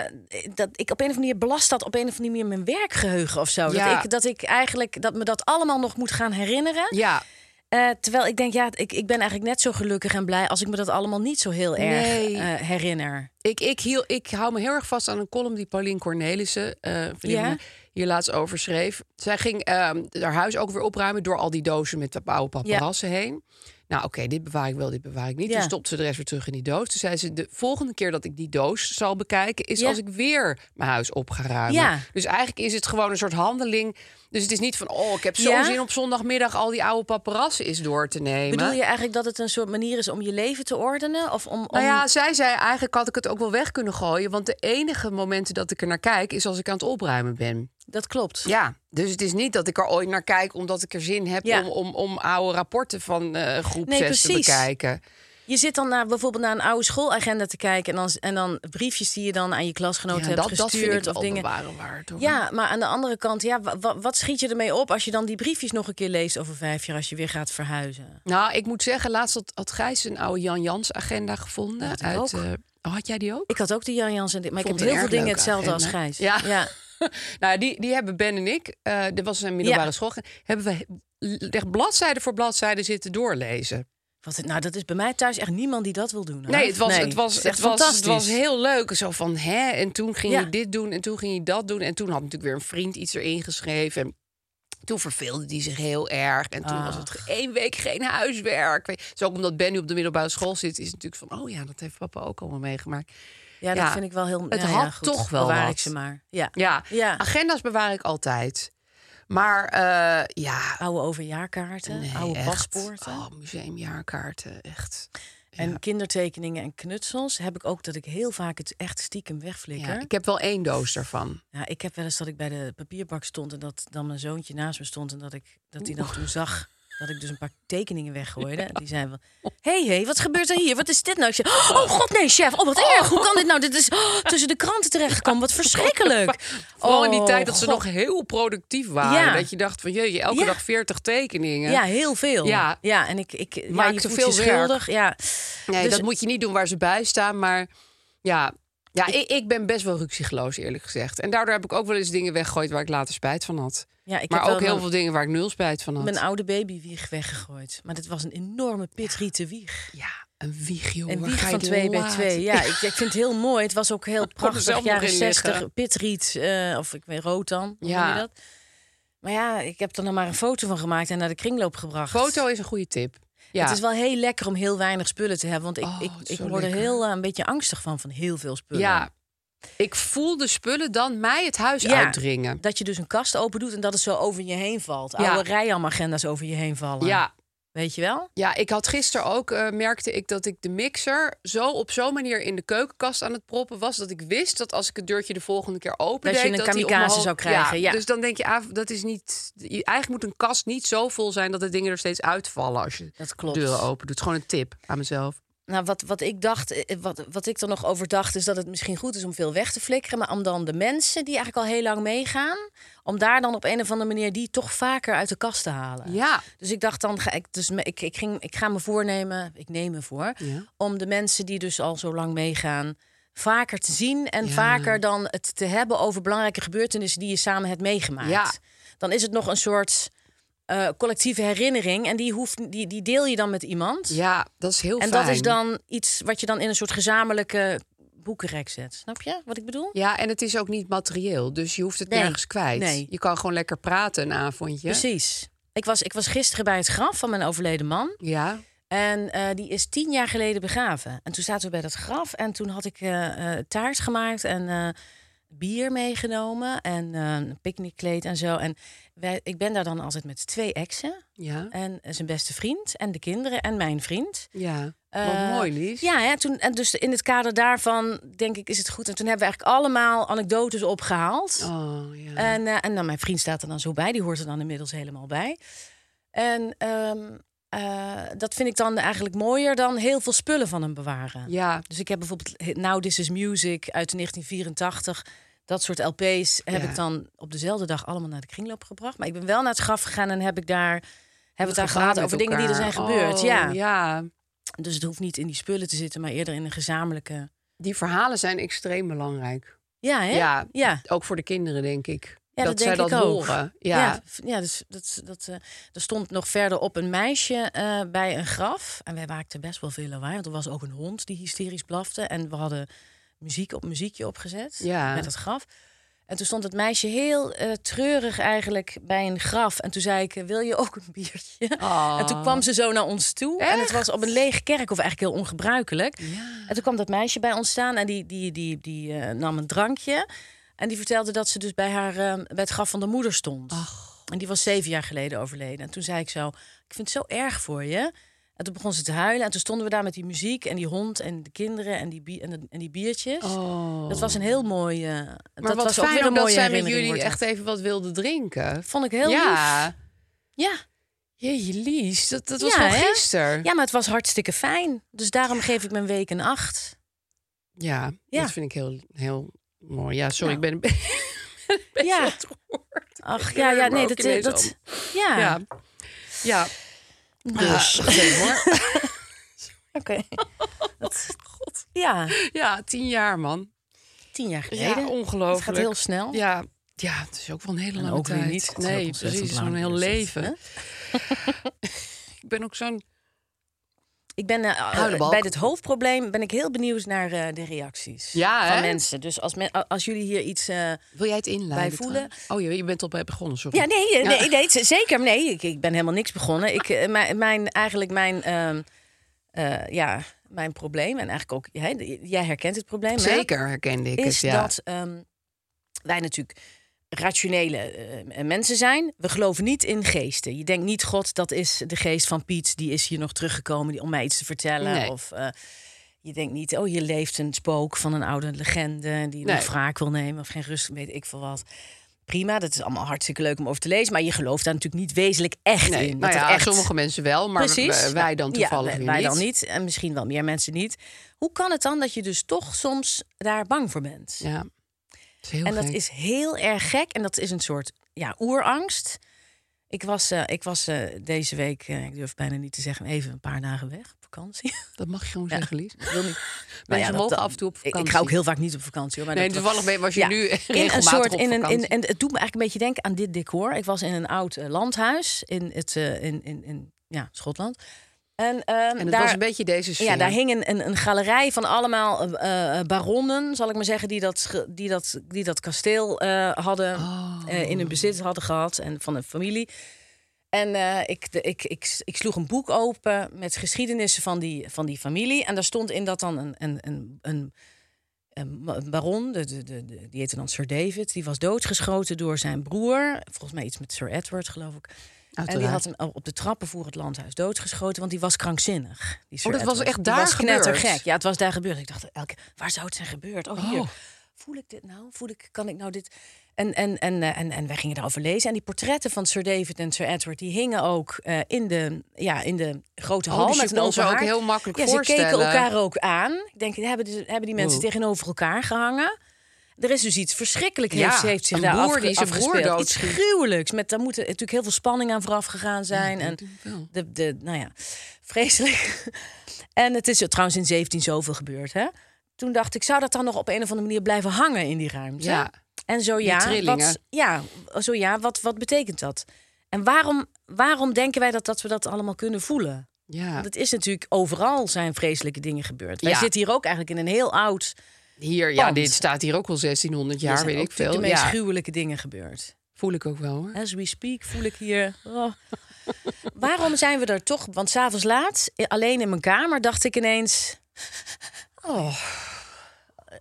Speaker 4: dat, ik op een of andere manier belast dat op een of andere manier mijn werkgeheugen of zo.
Speaker 3: Ja.
Speaker 4: Dat, ik, dat ik eigenlijk dat me dat allemaal nog moet gaan herinneren.
Speaker 3: Ja,
Speaker 4: Eh, terwijl ik denk, ja, ik, ik ben eigenlijk net zo gelukkig en blij als ik me dat allemaal niet zo heel erg
Speaker 3: Nee.
Speaker 4: eh, herinner.
Speaker 3: ik, ik, hiel, ik hou me heel erg vast aan een column die Paulien Cornelissen eh, een vriendin
Speaker 4: Ja.
Speaker 3: van mij, hier laatst over schreef. Zij ging ehm, haar huis ook weer opruimen door al die dozen met oude paparazzen heen. Nou oké, dit bewaar ik wel, dit bewaar ik niet.
Speaker 4: Ja.
Speaker 3: Toen stopte ze de rest weer terug in die doos. Toen zei ze, de volgende keer dat ik die doos zal bekijken... is
Speaker 4: Ja.
Speaker 3: als ik weer mijn huis op ga ruimen.
Speaker 4: Ja.
Speaker 3: Dus eigenlijk is het gewoon een soort handeling. Dus het is niet van, oh, ik heb zo'n
Speaker 4: Ja.
Speaker 3: zin op zondagmiddag... al die oude paparazzen is door te nemen.
Speaker 4: Bedoel je eigenlijk dat het een soort manier is om je leven te ordenen? Of om, om...
Speaker 3: Nou ja, zij zei eigenlijk had ik het ook wel weg kunnen gooien. Want de enige momenten dat ik er naar kijk is als ik aan het opruimen ben.
Speaker 4: dat klopt.
Speaker 3: Ja, dus het is niet dat ik er ooit naar kijk omdat ik er zin heb
Speaker 4: Ja.
Speaker 3: om, om, om oude rapporten van eh groep
Speaker 4: Nee,
Speaker 3: 6 te
Speaker 4: precies.
Speaker 3: bekijken.
Speaker 4: Je zit dan naar, bijvoorbeeld naar een oude schoolagenda te kijken en dan, en dan briefjes die je dan aan je klasgenoten
Speaker 3: Ja,
Speaker 4: hebt
Speaker 3: dat, dat vind ik
Speaker 4: gestuurd
Speaker 3: wel
Speaker 4: of dingen.
Speaker 3: bewaren waard. Hoor.
Speaker 4: Ja, maar aan de andere kant, ja, wa- wa- wat schiet je ermee op als je dan die briefjes nog een keer leest over vijf jaar als je weer gaat verhuizen?
Speaker 3: Nou, ik moet zeggen, laatst had, had Gijs een oude Jan Jans agenda gevonden.
Speaker 4: Had ik
Speaker 3: uit,
Speaker 4: ook.
Speaker 3: eh, oh, had jij die ook?
Speaker 4: Ik had ook de Jan Jans en dit, maar ik
Speaker 3: Vond
Speaker 4: heb
Speaker 3: een
Speaker 4: heel veel
Speaker 3: erg
Speaker 4: dingen
Speaker 3: leuke
Speaker 4: hetzelfde als
Speaker 3: agenda.
Speaker 4: Gijs.
Speaker 3: Ja.
Speaker 4: ja.
Speaker 3: (laughs) Nou, die, die hebben Ben en ik, eh er was een middelbare
Speaker 4: Ja.
Speaker 3: school, hebben we echt bladzijde voor bladzijde zitten doorlezen.
Speaker 4: Wat, nou, dat is bij mij thuis echt niemand die dat wil doen. hoor.
Speaker 3: Nee, het was, het was,
Speaker 4: Nou, is
Speaker 3: het
Speaker 4: echt
Speaker 3: was, het
Speaker 4: fantastisch.
Speaker 3: was heel leuk. Zo van, hè, en toen ging
Speaker 4: Ja.
Speaker 3: hij dit doen en toen ging hij dat doen. En toen had natuurlijk weer een vriend iets erin geschreven. En toen verveelde hij zich heel erg. En toen was
Speaker 4: Ah.
Speaker 3: het ge- één week geen huiswerk. Weet je, Dus ook omdat Ben nu op de middelbare school zit, is het natuurlijk van... oh ja, dat heeft papa ook allemaal meegemaakt.
Speaker 4: Ja, dat
Speaker 3: ja.
Speaker 4: vind ik wel heel.
Speaker 3: Het
Speaker 4: ja, ja,
Speaker 3: had
Speaker 4: goed.
Speaker 3: toch wel
Speaker 4: Bewaar
Speaker 3: wat.
Speaker 4: ik ze maar. Ja.
Speaker 3: Ja,
Speaker 4: Ja.
Speaker 3: agenda's bewaar ik altijd. Maar eh, ja...
Speaker 4: Oude overjaarkaarten,
Speaker 3: nee,
Speaker 4: oude
Speaker 3: echt.
Speaker 4: paspoorten.
Speaker 3: Oh, museumjaarkaarten, echt.
Speaker 4: En kindertekeningen en knutsels heb ik ook dat ik heel vaak het echt stiekem wegflikker. Nou,
Speaker 3: Ja, ik heb wel één doos daarvan.
Speaker 4: Ja, ik heb wel eens dat ik bij de papierbak stond en dat dan mijn zoontje naast me stond en dat ik dat hij dan toen zag Dat ik dus een paar tekeningen weggooide. Die zei van, hey, hey, wat gebeurt er hier? Wat is dit nou? Ik zei, oh god, nee, chef. Oh, wat erg. Hoe kan dit nou? Dit is oh, tussen de kranten
Speaker 3: (laughs)
Speaker 4: terechtgekomen. Wat verschrikkelijk.
Speaker 3: Vooral in die
Speaker 4: Oh,
Speaker 3: tijd dat ze
Speaker 4: god.
Speaker 3: nog heel productief waren.
Speaker 4: Ja.
Speaker 3: Dat je dacht van jeetje, elke
Speaker 4: Ja.
Speaker 3: dag 40 tekeningen.
Speaker 4: Ja, heel veel.
Speaker 3: Ja.
Speaker 4: ja en ik, ik ja,
Speaker 3: Maakt
Speaker 4: je
Speaker 3: te
Speaker 4: voelt
Speaker 3: veel
Speaker 4: je
Speaker 3: werk.
Speaker 4: schuldig. Ja.
Speaker 3: Nee,
Speaker 4: Dus-
Speaker 3: dat moet je niet doen waar ze bij staan. Maar ja, ja ik, ik ben best wel ruksigloos eerlijk gezegd. En daardoor heb ik ook wel eens dingen weggegooid waar ik later spijt van had.
Speaker 4: Ja, ik
Speaker 3: maar
Speaker 4: heb wel
Speaker 3: ook heel
Speaker 4: een-
Speaker 3: veel dingen waar ik nul spijt van had.
Speaker 4: Mijn oude babywieg weggegooid. Maar dit was een enorme pitrieten wieg.
Speaker 3: Ja, een wieg, joh.
Speaker 4: Een
Speaker 3: waar
Speaker 4: wieg
Speaker 3: ga je
Speaker 4: van
Speaker 3: het
Speaker 4: 2 bij
Speaker 3: laten? (laughs)
Speaker 4: 2. Ja, ik, ik vind het heel mooi. Het was ook heel
Speaker 3: er zelf
Speaker 4: prachtig.
Speaker 3: nog
Speaker 4: Jaren
Speaker 3: in
Speaker 4: 60,
Speaker 3: liggen.
Speaker 4: pitriet. eh, of ik weet rood dan. Hoe
Speaker 3: Ja.
Speaker 4: noem je dat? Maar ja, ik heb er dan maar een foto van gemaakt en naar de kringloop gebracht.
Speaker 3: Foto is een goede tip. Ja.
Speaker 4: Het is wel heel lekker om heel weinig spullen te hebben. Want ik,
Speaker 3: Oh, het
Speaker 4: ik,
Speaker 3: is
Speaker 4: ik
Speaker 3: zo
Speaker 4: word er
Speaker 3: lekker.
Speaker 4: heel eh, een beetje angstig van, van heel veel spullen.
Speaker 3: ja. Ik voel de spullen dan mij het huis
Speaker 4: Ja.
Speaker 3: uitdringen.
Speaker 4: Dat je dus een kast open doet en dat het zo over je heen valt.
Speaker 3: Ja.
Speaker 4: Oude Rijam-agenda's over je heen vallen.
Speaker 3: Ja,
Speaker 4: Weet je wel?
Speaker 3: Ja, ik had gisteren ook, eh, merkte ik dat ik de mixer zo op zo'n manier in de keukenkast aan het proppen was. Dat ik wist dat als ik het deurtje de volgende keer open
Speaker 4: Dat je een
Speaker 3: die op mijn
Speaker 4: kamikaze
Speaker 3: hoofd-
Speaker 4: zou krijgen, ja.
Speaker 3: Dus dan denk je, ah, dat is niet. je- Eigenlijk moet een kast niet zo vol zijn dat de dingen er steeds uitvallen als je
Speaker 4: Dat klopt.
Speaker 3: de deuren open doet. Gewoon een tip aan mezelf.
Speaker 4: Nou, wat, wat ik dacht, eh, wat, wat ik er nog over dacht, is dat het misschien goed is om veel weg te flikkeren. Maar om dan de mensen die eigenlijk al heel lang meegaan, om daar dan op een of andere manier die toch vaker uit de kast te halen.
Speaker 3: Ja.
Speaker 4: Dus ik dacht dan, ga ik, dus me- ik, ik, ging, ik ga me voornemen, ik neem me voor,
Speaker 3: Ja.
Speaker 4: om de mensen die dus al zo lang meegaan, vaker te zien en vaker dan het te hebben over belangrijke gebeurtenissen die je samen hebt meegemaakt.
Speaker 3: Ja.
Speaker 4: Dan is het nog een soort eh, collectieve herinnering en die, hoeft, die, die deel je dan met iemand.
Speaker 3: Ja, dat is heel
Speaker 4: En
Speaker 3: fijn.
Speaker 4: dat is dan iets wat je dan in een soort gezamenlijke boekenrek zet. Snap je wat ik bedoel?
Speaker 3: Ja, en het is ook niet materieel. Dus je hoeft het
Speaker 4: Nee.
Speaker 3: nergens kwijt.
Speaker 4: Nee.
Speaker 3: Je kan gewoon lekker praten een avondje.
Speaker 4: Precies. Ik was, ik was gisteren bij het graf van mijn overleden man.
Speaker 3: Ja.
Speaker 4: En eh, die is tien jaar geleden begraven. En toen zaten we bij dat graf. En toen had ik eh, eh, taart gemaakt en eh, bier meegenomen. En eh, een picknickkleed en zo. En wij, ik ben daar dan altijd met twee exen.
Speaker 3: Ja.
Speaker 4: En zijn beste vriend en de kinderen en mijn vriend.
Speaker 3: Ja.
Speaker 4: Eh,
Speaker 3: Wat mooi, Lies.
Speaker 4: Ja, ja toen, en dus in het kader daarvan denk ik is het goed. En toen hebben we eigenlijk allemaal anekdotes opgehaald.
Speaker 3: Oh, ja.
Speaker 4: En, eh, en dan mijn vriend staat er dan zo bij, die hoort er dan inmiddels helemaal bij. En ehm, eh, dat vind ik dan eigenlijk mooier dan heel veel spullen van hem bewaren.
Speaker 3: ja.
Speaker 4: Dus ik heb bijvoorbeeld Now This Is Music uit 1984. Dat soort LP's heb
Speaker 3: Ja.
Speaker 4: ik dan op dezelfde dag allemaal naar de kringloop gebracht. Maar ik ben wel naar het graf gegaan en heb ik daar, hebben we het
Speaker 3: Gepraat
Speaker 4: daar gehad
Speaker 3: met
Speaker 4: over dingen die er zijn
Speaker 3: elkaar.
Speaker 4: gebeurd.
Speaker 3: Oh,
Speaker 4: ja.
Speaker 3: ja.
Speaker 4: Dus het hoeft niet in die spullen te zitten, maar eerder in een gezamenlijke.
Speaker 3: Die verhalen zijn extreem belangrijk.
Speaker 4: Ja, hè?
Speaker 3: Ja.
Speaker 4: ja.
Speaker 3: Ook voor de kinderen, denk ik.
Speaker 4: Ja, dat,
Speaker 3: zij
Speaker 4: denk
Speaker 3: dat
Speaker 4: ik ook.
Speaker 3: horen. Ja.
Speaker 4: ja, v- ja, dus dat, dat, eh, er stond nog verderop een meisje eh, bij een graf. En wij maakten best wel veel lawaai, want er was ook een hond die hysterisch blafte. En we hadden muziek op muziekje opgezet
Speaker 3: Ja.
Speaker 4: met het graf. En toen stond het meisje heel eh, treurig eigenlijk bij een graf. En toen zei ik, eh, wil je ook een biertje?
Speaker 3: Ah.
Speaker 4: En toen kwam ze zo naar ons toe. En het was op een lege kerk, of eigenlijk heel ongebruikelijk. En toen kwam dat meisje bij ons staan en die, die, die, die eh, nam een drankje. En die vertelde dat ze dus bij, haar, eh, bij het graf van de moeder stond. En die was zeven jaar geleden overleden. En toen zei ik zo, ik vind het zo erg voor je. En toen begon ze te huilen. En toen stonden we daar met die muziek en die hond en de kinderen en die, bi- en, de- en die biertjes.
Speaker 3: Oh.
Speaker 4: Dat was een heel mooi... eh,
Speaker 3: Maar
Speaker 4: dat
Speaker 3: wat
Speaker 4: was ook
Speaker 3: fijn
Speaker 4: weer een
Speaker 3: ook dat
Speaker 4: mooie
Speaker 3: zij met
Speaker 4: herinnering,
Speaker 3: jullie
Speaker 4: wordt
Speaker 3: echt
Speaker 4: dat.
Speaker 3: even wat wilden drinken.
Speaker 4: Vond ik heel
Speaker 3: ja.
Speaker 4: lief. Ja.
Speaker 3: Jeetje, Lies. Dat, dat was
Speaker 4: Ja,
Speaker 3: van
Speaker 4: hè?
Speaker 3: gisteren.
Speaker 4: ja, maar het was hartstikke fijn. Dus daarom geef ik mijn week een acht.
Speaker 3: Ja,
Speaker 4: Ja.
Speaker 3: dat vind ik heel, heel mooi. Ja, sorry,
Speaker 4: Nou.
Speaker 3: ik ben een beetje
Speaker 4: Ja.
Speaker 3: aan het woord.
Speaker 4: Ach,
Speaker 3: Ik
Speaker 4: ja,
Speaker 3: herinner
Speaker 4: ja,
Speaker 3: me
Speaker 4: nee,
Speaker 3: ook
Speaker 4: dat...
Speaker 3: ineens
Speaker 4: dat ja,
Speaker 3: al. Ja. Ja.
Speaker 4: dus.
Speaker 3: Ah, oké, hoor.
Speaker 4: (laughs)
Speaker 3: (laughs)
Speaker 4: Oké. Ja,
Speaker 3: ja, tien jaar, man.
Speaker 4: tien jaar
Speaker 3: Ja,
Speaker 4: geleden.
Speaker 3: ongelooflijk.
Speaker 4: Het gaat heel snel.
Speaker 3: Ja, ja, het is ook wel een hele
Speaker 4: En
Speaker 3: lange
Speaker 4: ook weer
Speaker 3: tijd.
Speaker 4: niet. Het is ook
Speaker 3: nee,
Speaker 4: ontzettend
Speaker 3: precies.
Speaker 4: lang
Speaker 3: Zo'n heel
Speaker 4: weer, is het,
Speaker 3: leven. ik ben ook zo'n...
Speaker 4: Ik ben eh,
Speaker 3: Hou de balk.
Speaker 4: bij dit hoofdprobleem ben ik heel benieuwd naar eh, de reacties
Speaker 3: Ja,
Speaker 4: van
Speaker 3: hè?
Speaker 4: mensen. Dus als, men, als jullie hier iets. eh,
Speaker 3: Wil jij het inleiden?
Speaker 4: Bij voelen.
Speaker 3: trouwens? Oh, je, je bent al bij begonnen, sorry.
Speaker 4: Ja, nee, eh, nee, nee, z- zeker. Nee, ik, ik ben helemaal niks begonnen. Ik, eh, mijn, mijn, eigenlijk mijn, ehm, eh, ja, mijn probleem, en eigenlijk ook hè, de- jij herkent het probleem. hè?
Speaker 3: Zeker herkende ik
Speaker 4: is
Speaker 3: het, ja.
Speaker 4: dat ehm, wij natuurlijk rationele eh, mensen zijn. We geloven niet in geesten. Je denkt niet, God, dat is de geest van Piet. Die is hier nog teruggekomen die- om mij iets te vertellen.
Speaker 3: Nee.
Speaker 4: Of eh, je denkt niet, oh, hier leeft een spook van een oude legende... die
Speaker 3: Nee.
Speaker 4: nog wraak wil nemen of geen rust, weet ik veel wat. prima, dat is allemaal hartstikke leuk om over te lezen. Maar je gelooft daar natuurlijk niet wezenlijk echt
Speaker 3: Nee,
Speaker 4: in. dat
Speaker 3: nou
Speaker 4: het
Speaker 3: ja,
Speaker 4: echt...
Speaker 3: sommige mensen wel, maar
Speaker 4: Precies.
Speaker 3: w- wij dan
Speaker 4: Ja,
Speaker 3: toevallig
Speaker 4: wij,
Speaker 3: weer
Speaker 4: wij
Speaker 3: niet.
Speaker 4: dan niet. En misschien wel meer mensen niet. Hoe kan het dan dat je dus toch soms daar bang voor bent?
Speaker 3: Ja. Dat is heel
Speaker 4: en dat
Speaker 3: gek.
Speaker 4: is heel erg gek. En dat is een soort ja, oerangst. Ik was, eh, ik was eh, deze week, eh, ik durf bijna niet te zeggen, even een paar dagen weg op vakantie. (laughs)
Speaker 3: Dat mag je gewoon zeggen, Lies.
Speaker 4: Ik wil niet. Nou
Speaker 3: Mensen
Speaker 4: dat-
Speaker 3: mogen
Speaker 4: dat-
Speaker 3: af en toe op
Speaker 4: ik- Ik,
Speaker 3: vakantie.
Speaker 4: ga ook heel vaak niet op vakantie. Hoor, maar
Speaker 3: Nee,
Speaker 4: dat-
Speaker 3: toevallig ben- was je nu (laughs)
Speaker 4: in een
Speaker 3: regelmatig
Speaker 4: soort,
Speaker 3: op
Speaker 4: in een, in,
Speaker 3: vakantie.
Speaker 4: en het doet me eigenlijk een beetje denken aan dit decor. Ik was in een oud eh, landhuis in, het, eh, in, in, in ja, Schotland. En, ehm,
Speaker 3: En het
Speaker 4: daar,
Speaker 3: was een beetje deze sfeer.
Speaker 4: ja, daar hing een, een, een galerij van allemaal eh, eh, baronnen, zal ik maar zeggen, die dat, ge- die dat, die dat kasteel eh, hadden, eh, in hun bezit hadden gehad en van een familie. En eh, ik, de- ik, ik, ik sloeg een boek open met geschiedenissen van die, van die familie. En daar stond in dat dan een, een, een, een, een ma- een baron, de, de, de, de- die heette dan Sir David, die was doodgeschoten door zijn broer. Volgens mij iets met Sir Edward, geloof ik. En die
Speaker 3: Uiteraard.
Speaker 4: had hem op de trappen voor het landhuis doodgeschoten, want die was krankzinnig. Die Sir
Speaker 3: Oh, dat was
Speaker 4: Edward.
Speaker 3: echt
Speaker 4: Die
Speaker 3: daar
Speaker 4: was
Speaker 3: gebeurd?
Speaker 4: knettergek. Ja, het was daar gebeurd. Ik dacht, elke, waar zou het zijn gebeurd? Oh, hier.
Speaker 3: Oh.
Speaker 4: Voel ik dit nou? Voel ik, kan ik nou dit? En, en, en, eh, en, en wij gingen daarover lezen. En die portretten van Sir David en Sir Edward... die hingen ook eh, in, de, ja, in de grote
Speaker 3: Oh,
Speaker 4: hal
Speaker 3: dus je
Speaker 4: met een
Speaker 3: kon
Speaker 4: open
Speaker 3: ze ook
Speaker 4: haard.
Speaker 3: heel makkelijk
Speaker 4: ja, ze keken
Speaker 3: voorstellen.
Speaker 4: elkaar ook aan. Ik denk, hebben, die- hebben die mensen
Speaker 3: Wow.
Speaker 4: tegenover elkaar gehangen? Er is dus iets verschrikkelijk.
Speaker 3: Ja,
Speaker 4: heeft, ze heeft zich
Speaker 3: een
Speaker 4: daar
Speaker 3: boer
Speaker 4: afge-
Speaker 3: die zijn broer
Speaker 4: afgespeeld. Iets
Speaker 3: doodschiet.
Speaker 4: gruwelijks. Met, daar moet er natuurlijk heel veel spanning aan vooraf gegaan zijn. en de, de, nou ja, vreselijk. (laughs) en het is trouwens in 17 zoveel gebeurd, hè? Toen dacht ik, zou dat dan nog op een of andere manier blijven hangen in die ruimte?
Speaker 3: Ja.
Speaker 4: En zo ja, wat,
Speaker 3: trillingen.
Speaker 4: ja, zo ja wat, wat betekent dat? En waarom, waarom denken wij dat, dat we dat allemaal kunnen voelen?
Speaker 3: Ja,
Speaker 4: Want het is natuurlijk overal zijn vreselijke dingen gebeurd. Wij
Speaker 3: Ja.
Speaker 4: zitten hier ook eigenlijk in een heel oud...
Speaker 3: hier, ja,
Speaker 4: pand.
Speaker 3: dit staat hier ook al 1600
Speaker 4: Er
Speaker 3: jaar,
Speaker 4: zijn
Speaker 3: weet
Speaker 4: ook
Speaker 3: ik veel.
Speaker 4: De meest
Speaker 3: Ja,
Speaker 4: gruwelijke dingen gebeurd.
Speaker 3: voel ik ook wel hoor.
Speaker 4: As we speak voel ik hier. oh. (laughs) Waarom zijn we er toch? Want s'avonds laat, i- alleen in mijn kamer, dacht ik ineens. Oh,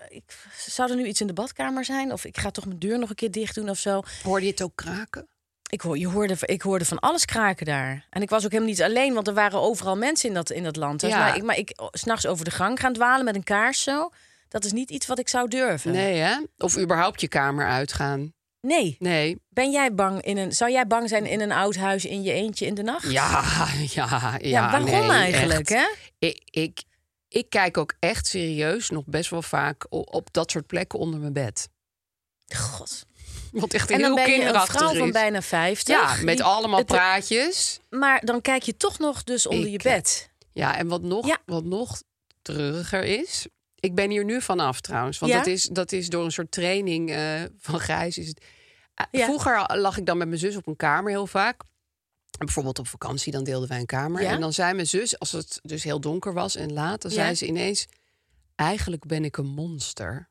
Speaker 4: ik, zou er nu iets in de badkamer zijn? Of ik ga toch mijn deur nog een keer dicht doen of zo.
Speaker 3: Hoorde je het ook kraken?
Speaker 4: Ik, hoor, je hoorde, ik hoorde van alles kraken daar. En ik was ook helemaal niet alleen, want er waren overal mensen in dat, in dat land.
Speaker 3: Ja.
Speaker 4: Maar ik, maar ik oh, s'nachts over de gang gaan dwalen met een kaars zo. Dat is niet iets wat ik zou durven.
Speaker 3: Nee, hè? Of überhaupt je kamer uitgaan?
Speaker 4: Nee.
Speaker 3: Nee.
Speaker 4: Ben jij bang in een, zou jij bang zijn in een oud huis in je eentje in de nacht?
Speaker 3: Ja, (laughs) ja, ja.
Speaker 4: Ja, waarom
Speaker 3: nee,
Speaker 4: eigenlijk,
Speaker 3: echt.
Speaker 4: hè?
Speaker 3: Ik, ik, ik kijk ook echt serieus nog best wel vaak o- op, dat soort plekken onder mijn bed.
Speaker 4: God.
Speaker 3: Wat echt
Speaker 4: En dan
Speaker 3: heel
Speaker 4: ben je een
Speaker 3: kinderachtig
Speaker 4: vrouw
Speaker 3: is.
Speaker 4: van bijna 50.
Speaker 3: Ja, met
Speaker 4: die-
Speaker 3: allemaal
Speaker 4: het-
Speaker 3: praatjes.
Speaker 4: Maar dan kijk je toch nog dus onder
Speaker 3: Ik,
Speaker 4: je bed.
Speaker 3: Ja, en wat nog,
Speaker 4: Ja.
Speaker 3: wat nog treuriger is. Ik ben hier nu vanaf trouwens. Want
Speaker 4: Ja?
Speaker 3: dat, is, dat is door een soort training eh, van Gijs. Is het, Eh,
Speaker 4: Ja.
Speaker 3: Vroeger lag ik dan met mijn zus op een kamer heel vaak. En Bijvoorbeeld op vakantie, dan deelden wij een kamer.
Speaker 4: Ja?
Speaker 3: En dan zei mijn zus, als het dus heel donker was en laat, dan
Speaker 4: Ja.
Speaker 3: zei ze ineens: Eigenlijk ben ik een monster.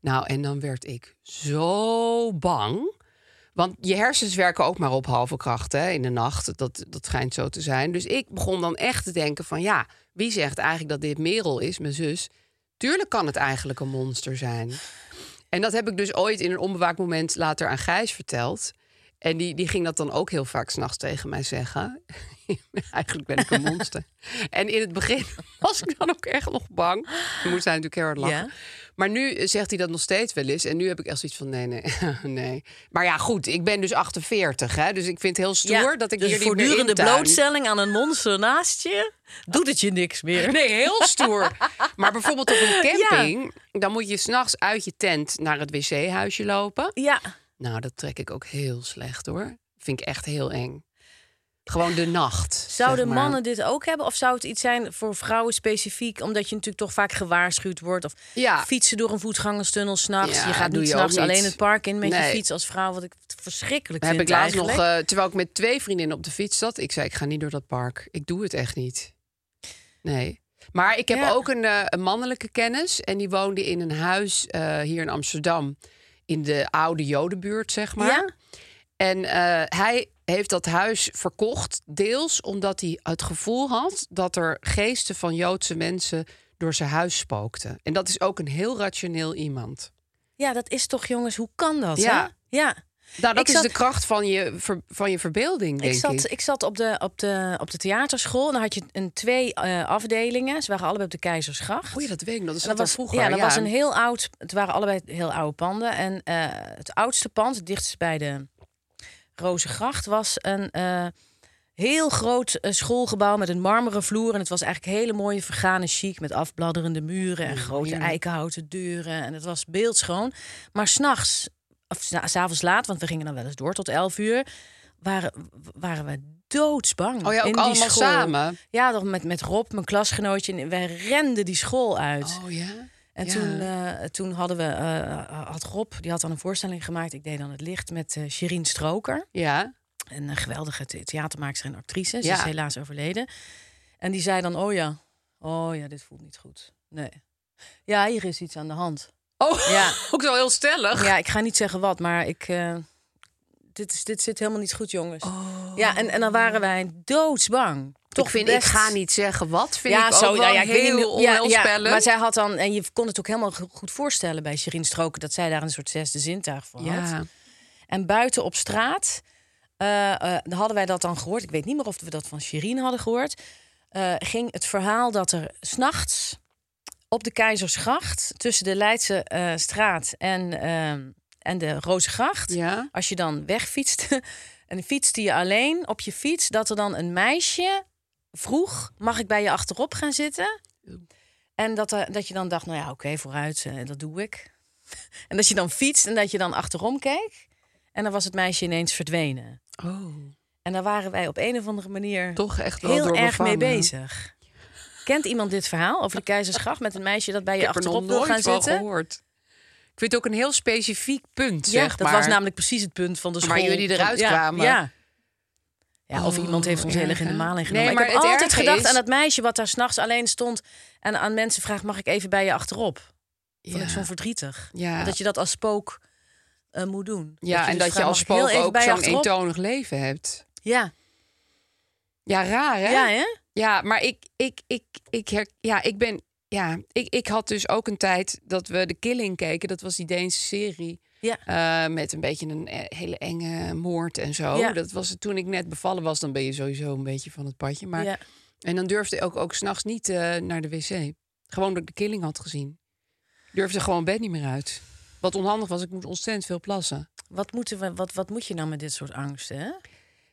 Speaker 3: Nou, en dan werd ik zo bang. Want je hersens werken ook maar op halve kracht hè, in de nacht. Dat, dat schijnt zo te zijn. Dus ik begon dan echt te denken van... ja, wie zegt eigenlijk dat dit Merel is, mijn zus? Tuurlijk kan het eigenlijk een monster zijn. En dat heb ik dus ooit in een onbewaakt moment later aan Gijs verteld. En die, die ging dat dan ook heel vaak s'nachts tegen mij zeggen. (laughs) eigenlijk ben ik een
Speaker 4: (laughs)
Speaker 3: monster. en in het begin (laughs) was ik dan ook echt nog bang. Dan moest hij natuurlijk heel hard lachen.
Speaker 4: Ja.
Speaker 3: Maar nu eh, zegt hij dat nog steeds wel eens. En nu heb ik echt zoiets van, nee, (laughs) nee, nee. Maar ja, goed, ik ben dus 48, hè. Dus ik vind het heel stoer dat ik
Speaker 4: dus
Speaker 3: hier niet meer
Speaker 4: voortdurende
Speaker 3: intuin.
Speaker 4: blootstelling aan een monster naast je doet het je niks meer.
Speaker 3: Nee, heel
Speaker 4: (laughs)
Speaker 3: stoer. maar bijvoorbeeld op een camping... dan moet je s'nachts uit je tent naar het wc-huisje lopen.
Speaker 4: Ja,
Speaker 3: Nou, dat trek ik ook heel slecht, hoor. Vind ik echt heel eng. Gewoon de nacht,
Speaker 4: zouden
Speaker 3: zeg maar.
Speaker 4: mannen dit ook hebben? Of zou het iets zijn voor vrouwen specifiek? Omdat je natuurlijk toch vaak gewaarschuwd wordt. Of
Speaker 3: Ja.
Speaker 4: fietsen door een voetgangerstunnel s'nachts.
Speaker 3: Ja,
Speaker 4: je gaat
Speaker 3: doe
Speaker 4: niet
Speaker 3: je
Speaker 4: s'nachts
Speaker 3: ook niet.
Speaker 4: alleen het park in met je
Speaker 3: Nee.
Speaker 4: fiets als vrouw. Wat ik verschrikkelijk
Speaker 3: Heb
Speaker 4: vind
Speaker 3: ik laatst nog,
Speaker 4: eigenlijk.
Speaker 3: eh, terwijl ik met twee vriendinnen op de fiets zat, ik zei: ik ga niet door dat park. Ik doe het echt niet. Nee. Maar ik heb
Speaker 4: Ja.
Speaker 3: ook een, eh, een mannelijke kennis en die woonde in een huis eh, hier in Amsterdam, in de oude Jodenbuurt, eh, zeg maar.
Speaker 4: Ja.
Speaker 3: En eh, hij heeft dat huis verkocht, deels omdat hij het gevoel had dat er geesten van Joodse mensen door zijn huis spookten. En dat is ook een heel rationeel iemand.
Speaker 4: Ja, dat is toch, jongens, hoe kan dat?
Speaker 3: Ja.
Speaker 4: Hè? ja.
Speaker 3: Nou, dat
Speaker 4: Ik
Speaker 3: is
Speaker 4: zat-
Speaker 3: de kracht van je, ver- van je verbeelding, denk
Speaker 4: Ik
Speaker 3: ik.
Speaker 4: zat, ik zat op, de, op, de, op de theaterschool. En dan had je een twee eh, afdelingen. Ze waren allebei op de Keizersgracht.
Speaker 3: Oei, dat weet ik nog. Dus
Speaker 4: En
Speaker 3: dat was vroeger.
Speaker 4: Ja, dat was een heel oud. Het waren allebei heel oude panden. En eh, het oudste pand, het dichtst bij de Rozengracht, was een eh, heel groot eh, schoolgebouw met een marmeren vloer. En het was eigenlijk hele mooie vergane chic met afbladderende muren
Speaker 3: Mm,
Speaker 4: en grote eikenhouten deuren. En het was beeldschoon. Maar s'nachts, of s- s'avonds laat, want we gingen dan wel eens door tot 11 uur, waren, waren we doodsbang.
Speaker 3: Oh ja, ook
Speaker 4: in die
Speaker 3: allemaal
Speaker 4: school.
Speaker 3: samen?
Speaker 4: Ja, toch met, met Rob, mijn klasgenootje. En wij renden die school uit.
Speaker 3: Oh ja.
Speaker 4: En
Speaker 3: Ja.
Speaker 4: toen, eh, toen hadden we, eh, had Rob, die had dan een voorstelling gemaakt. Ik deed dan het licht met eh Shireen Stroker.
Speaker 3: Ja.
Speaker 4: Een eh, geweldige the- theatermaakster en actrice. Ze
Speaker 3: Ja.
Speaker 4: is helaas overleden. En die zei dan, oh ja, oh ja, dit voelt niet goed. Nee. Ja, hier is iets aan de hand.
Speaker 3: Oh,
Speaker 4: Ja.
Speaker 3: (laughs) ook zo heel stellig.
Speaker 4: Ja, ik ga niet zeggen wat, maar ik... eh, dit, is, dit zit helemaal niet goed, jongens. Ja, en, en dan waren wij doodsbang. Toch
Speaker 3: Toch vind
Speaker 4: best-
Speaker 3: Oh. ik ga niet zeggen wat. Vind ik ook wel
Speaker 4: nou ik weet
Speaker 3: heel
Speaker 4: niet meer- ja,
Speaker 3: onheilspellend.
Speaker 4: Ja, maar zij had dan, en je kon het ook helemaal go- goed voorstellen bij Shirin Stroken... dat zij daar een soort zesde zintuig voor had.
Speaker 3: Ja.
Speaker 4: En buiten op straat eh, eh, dan hadden wij dat dan gehoord. Ik weet niet meer of we dat van Shirin hadden gehoord. Eh, ging het verhaal dat er s'nachts op de Keizersgracht... tussen de Leidse eh, straat en, ehm, en de Rozengracht...
Speaker 3: Ja.
Speaker 4: als je dan wegfietste (laughs) en fietste je alleen op je fiets... dat er dan een meisje vroeg... mag ik bij je achterop gaan zitten? En dat, er- dat je dan dacht, nou ja, oké, vooruit, eh, dat doe ik. (laughs) en dat je dan fietst en dat je dan achterom keek... en dan was het meisje ineens verdwenen.
Speaker 3: Oh.
Speaker 4: En daar waren wij op een of andere manier
Speaker 3: Toch echt wel
Speaker 4: heel
Speaker 3: door
Speaker 4: erg mee
Speaker 3: bevangen.
Speaker 4: bezig. Kent iemand dit verhaal over de Keizersgracht met een meisje dat bij
Speaker 3: Ik
Speaker 4: je
Speaker 3: heb er nog
Speaker 4: achterop wil
Speaker 3: nooit
Speaker 4: gaan
Speaker 3: van
Speaker 4: zitten?
Speaker 3: gehoord. Ik vind het ook een heel specifiek punt,
Speaker 4: Ja,
Speaker 3: zeg
Speaker 4: dat
Speaker 3: maar.
Speaker 4: was namelijk precies het punt van de
Speaker 3: Waar
Speaker 4: school.
Speaker 3: jullie eruit
Speaker 4: ja,
Speaker 3: kwamen.
Speaker 4: Ja. Ja, of
Speaker 3: Oh,
Speaker 4: iemand heeft ons heel erg in de
Speaker 3: erg, hè?
Speaker 4: maling
Speaker 3: Nee,
Speaker 4: genomen. ik
Speaker 3: maar
Speaker 4: heb
Speaker 3: het
Speaker 4: altijd
Speaker 3: erge
Speaker 4: gedacht
Speaker 3: is-
Speaker 4: aan dat meisje wat daar s'nachts alleen stond... en aan mensen vraagt, mag ik even bij je achterop? Vond
Speaker 3: Ja.
Speaker 4: ik zo verdrietig.
Speaker 3: Ja.
Speaker 4: Dat je dat als spook eh, moet doen.
Speaker 3: Ja, en
Speaker 4: dus
Speaker 3: dat
Speaker 4: vraagt,
Speaker 3: je als
Speaker 4: "Mag ik
Speaker 3: spook
Speaker 4: heel even
Speaker 3: ook
Speaker 4: bij je
Speaker 3: zo'n
Speaker 4: achterop?"
Speaker 3: eentonig leven hebt.
Speaker 4: Ja,
Speaker 3: Ja, raar, hè?
Speaker 4: ja hè?
Speaker 3: Ja, maar ik, ik, ik, ik, her, ja, ik ben. Ja, ik, ik had dus ook een tijd dat we de Killing keken. Dat was die Deense serie.
Speaker 4: Ja.
Speaker 3: eh, met een beetje een eh, hele enge moord en zo.
Speaker 4: Ja.
Speaker 3: Dat was toen ik net bevallen was. Dan ben je sowieso een beetje van het padje. Maar,
Speaker 4: Ja.
Speaker 3: En dan durfde ik ook, ook s'nachts niet eh, naar de wc. Gewoon dat ik de Killing had gezien. Durfde gewoon bed niet meer uit. Wat onhandig was, ik moest ontzettend veel plassen.
Speaker 4: Wat, moeten we, wat, wat moet je nou met dit soort angsten, hè?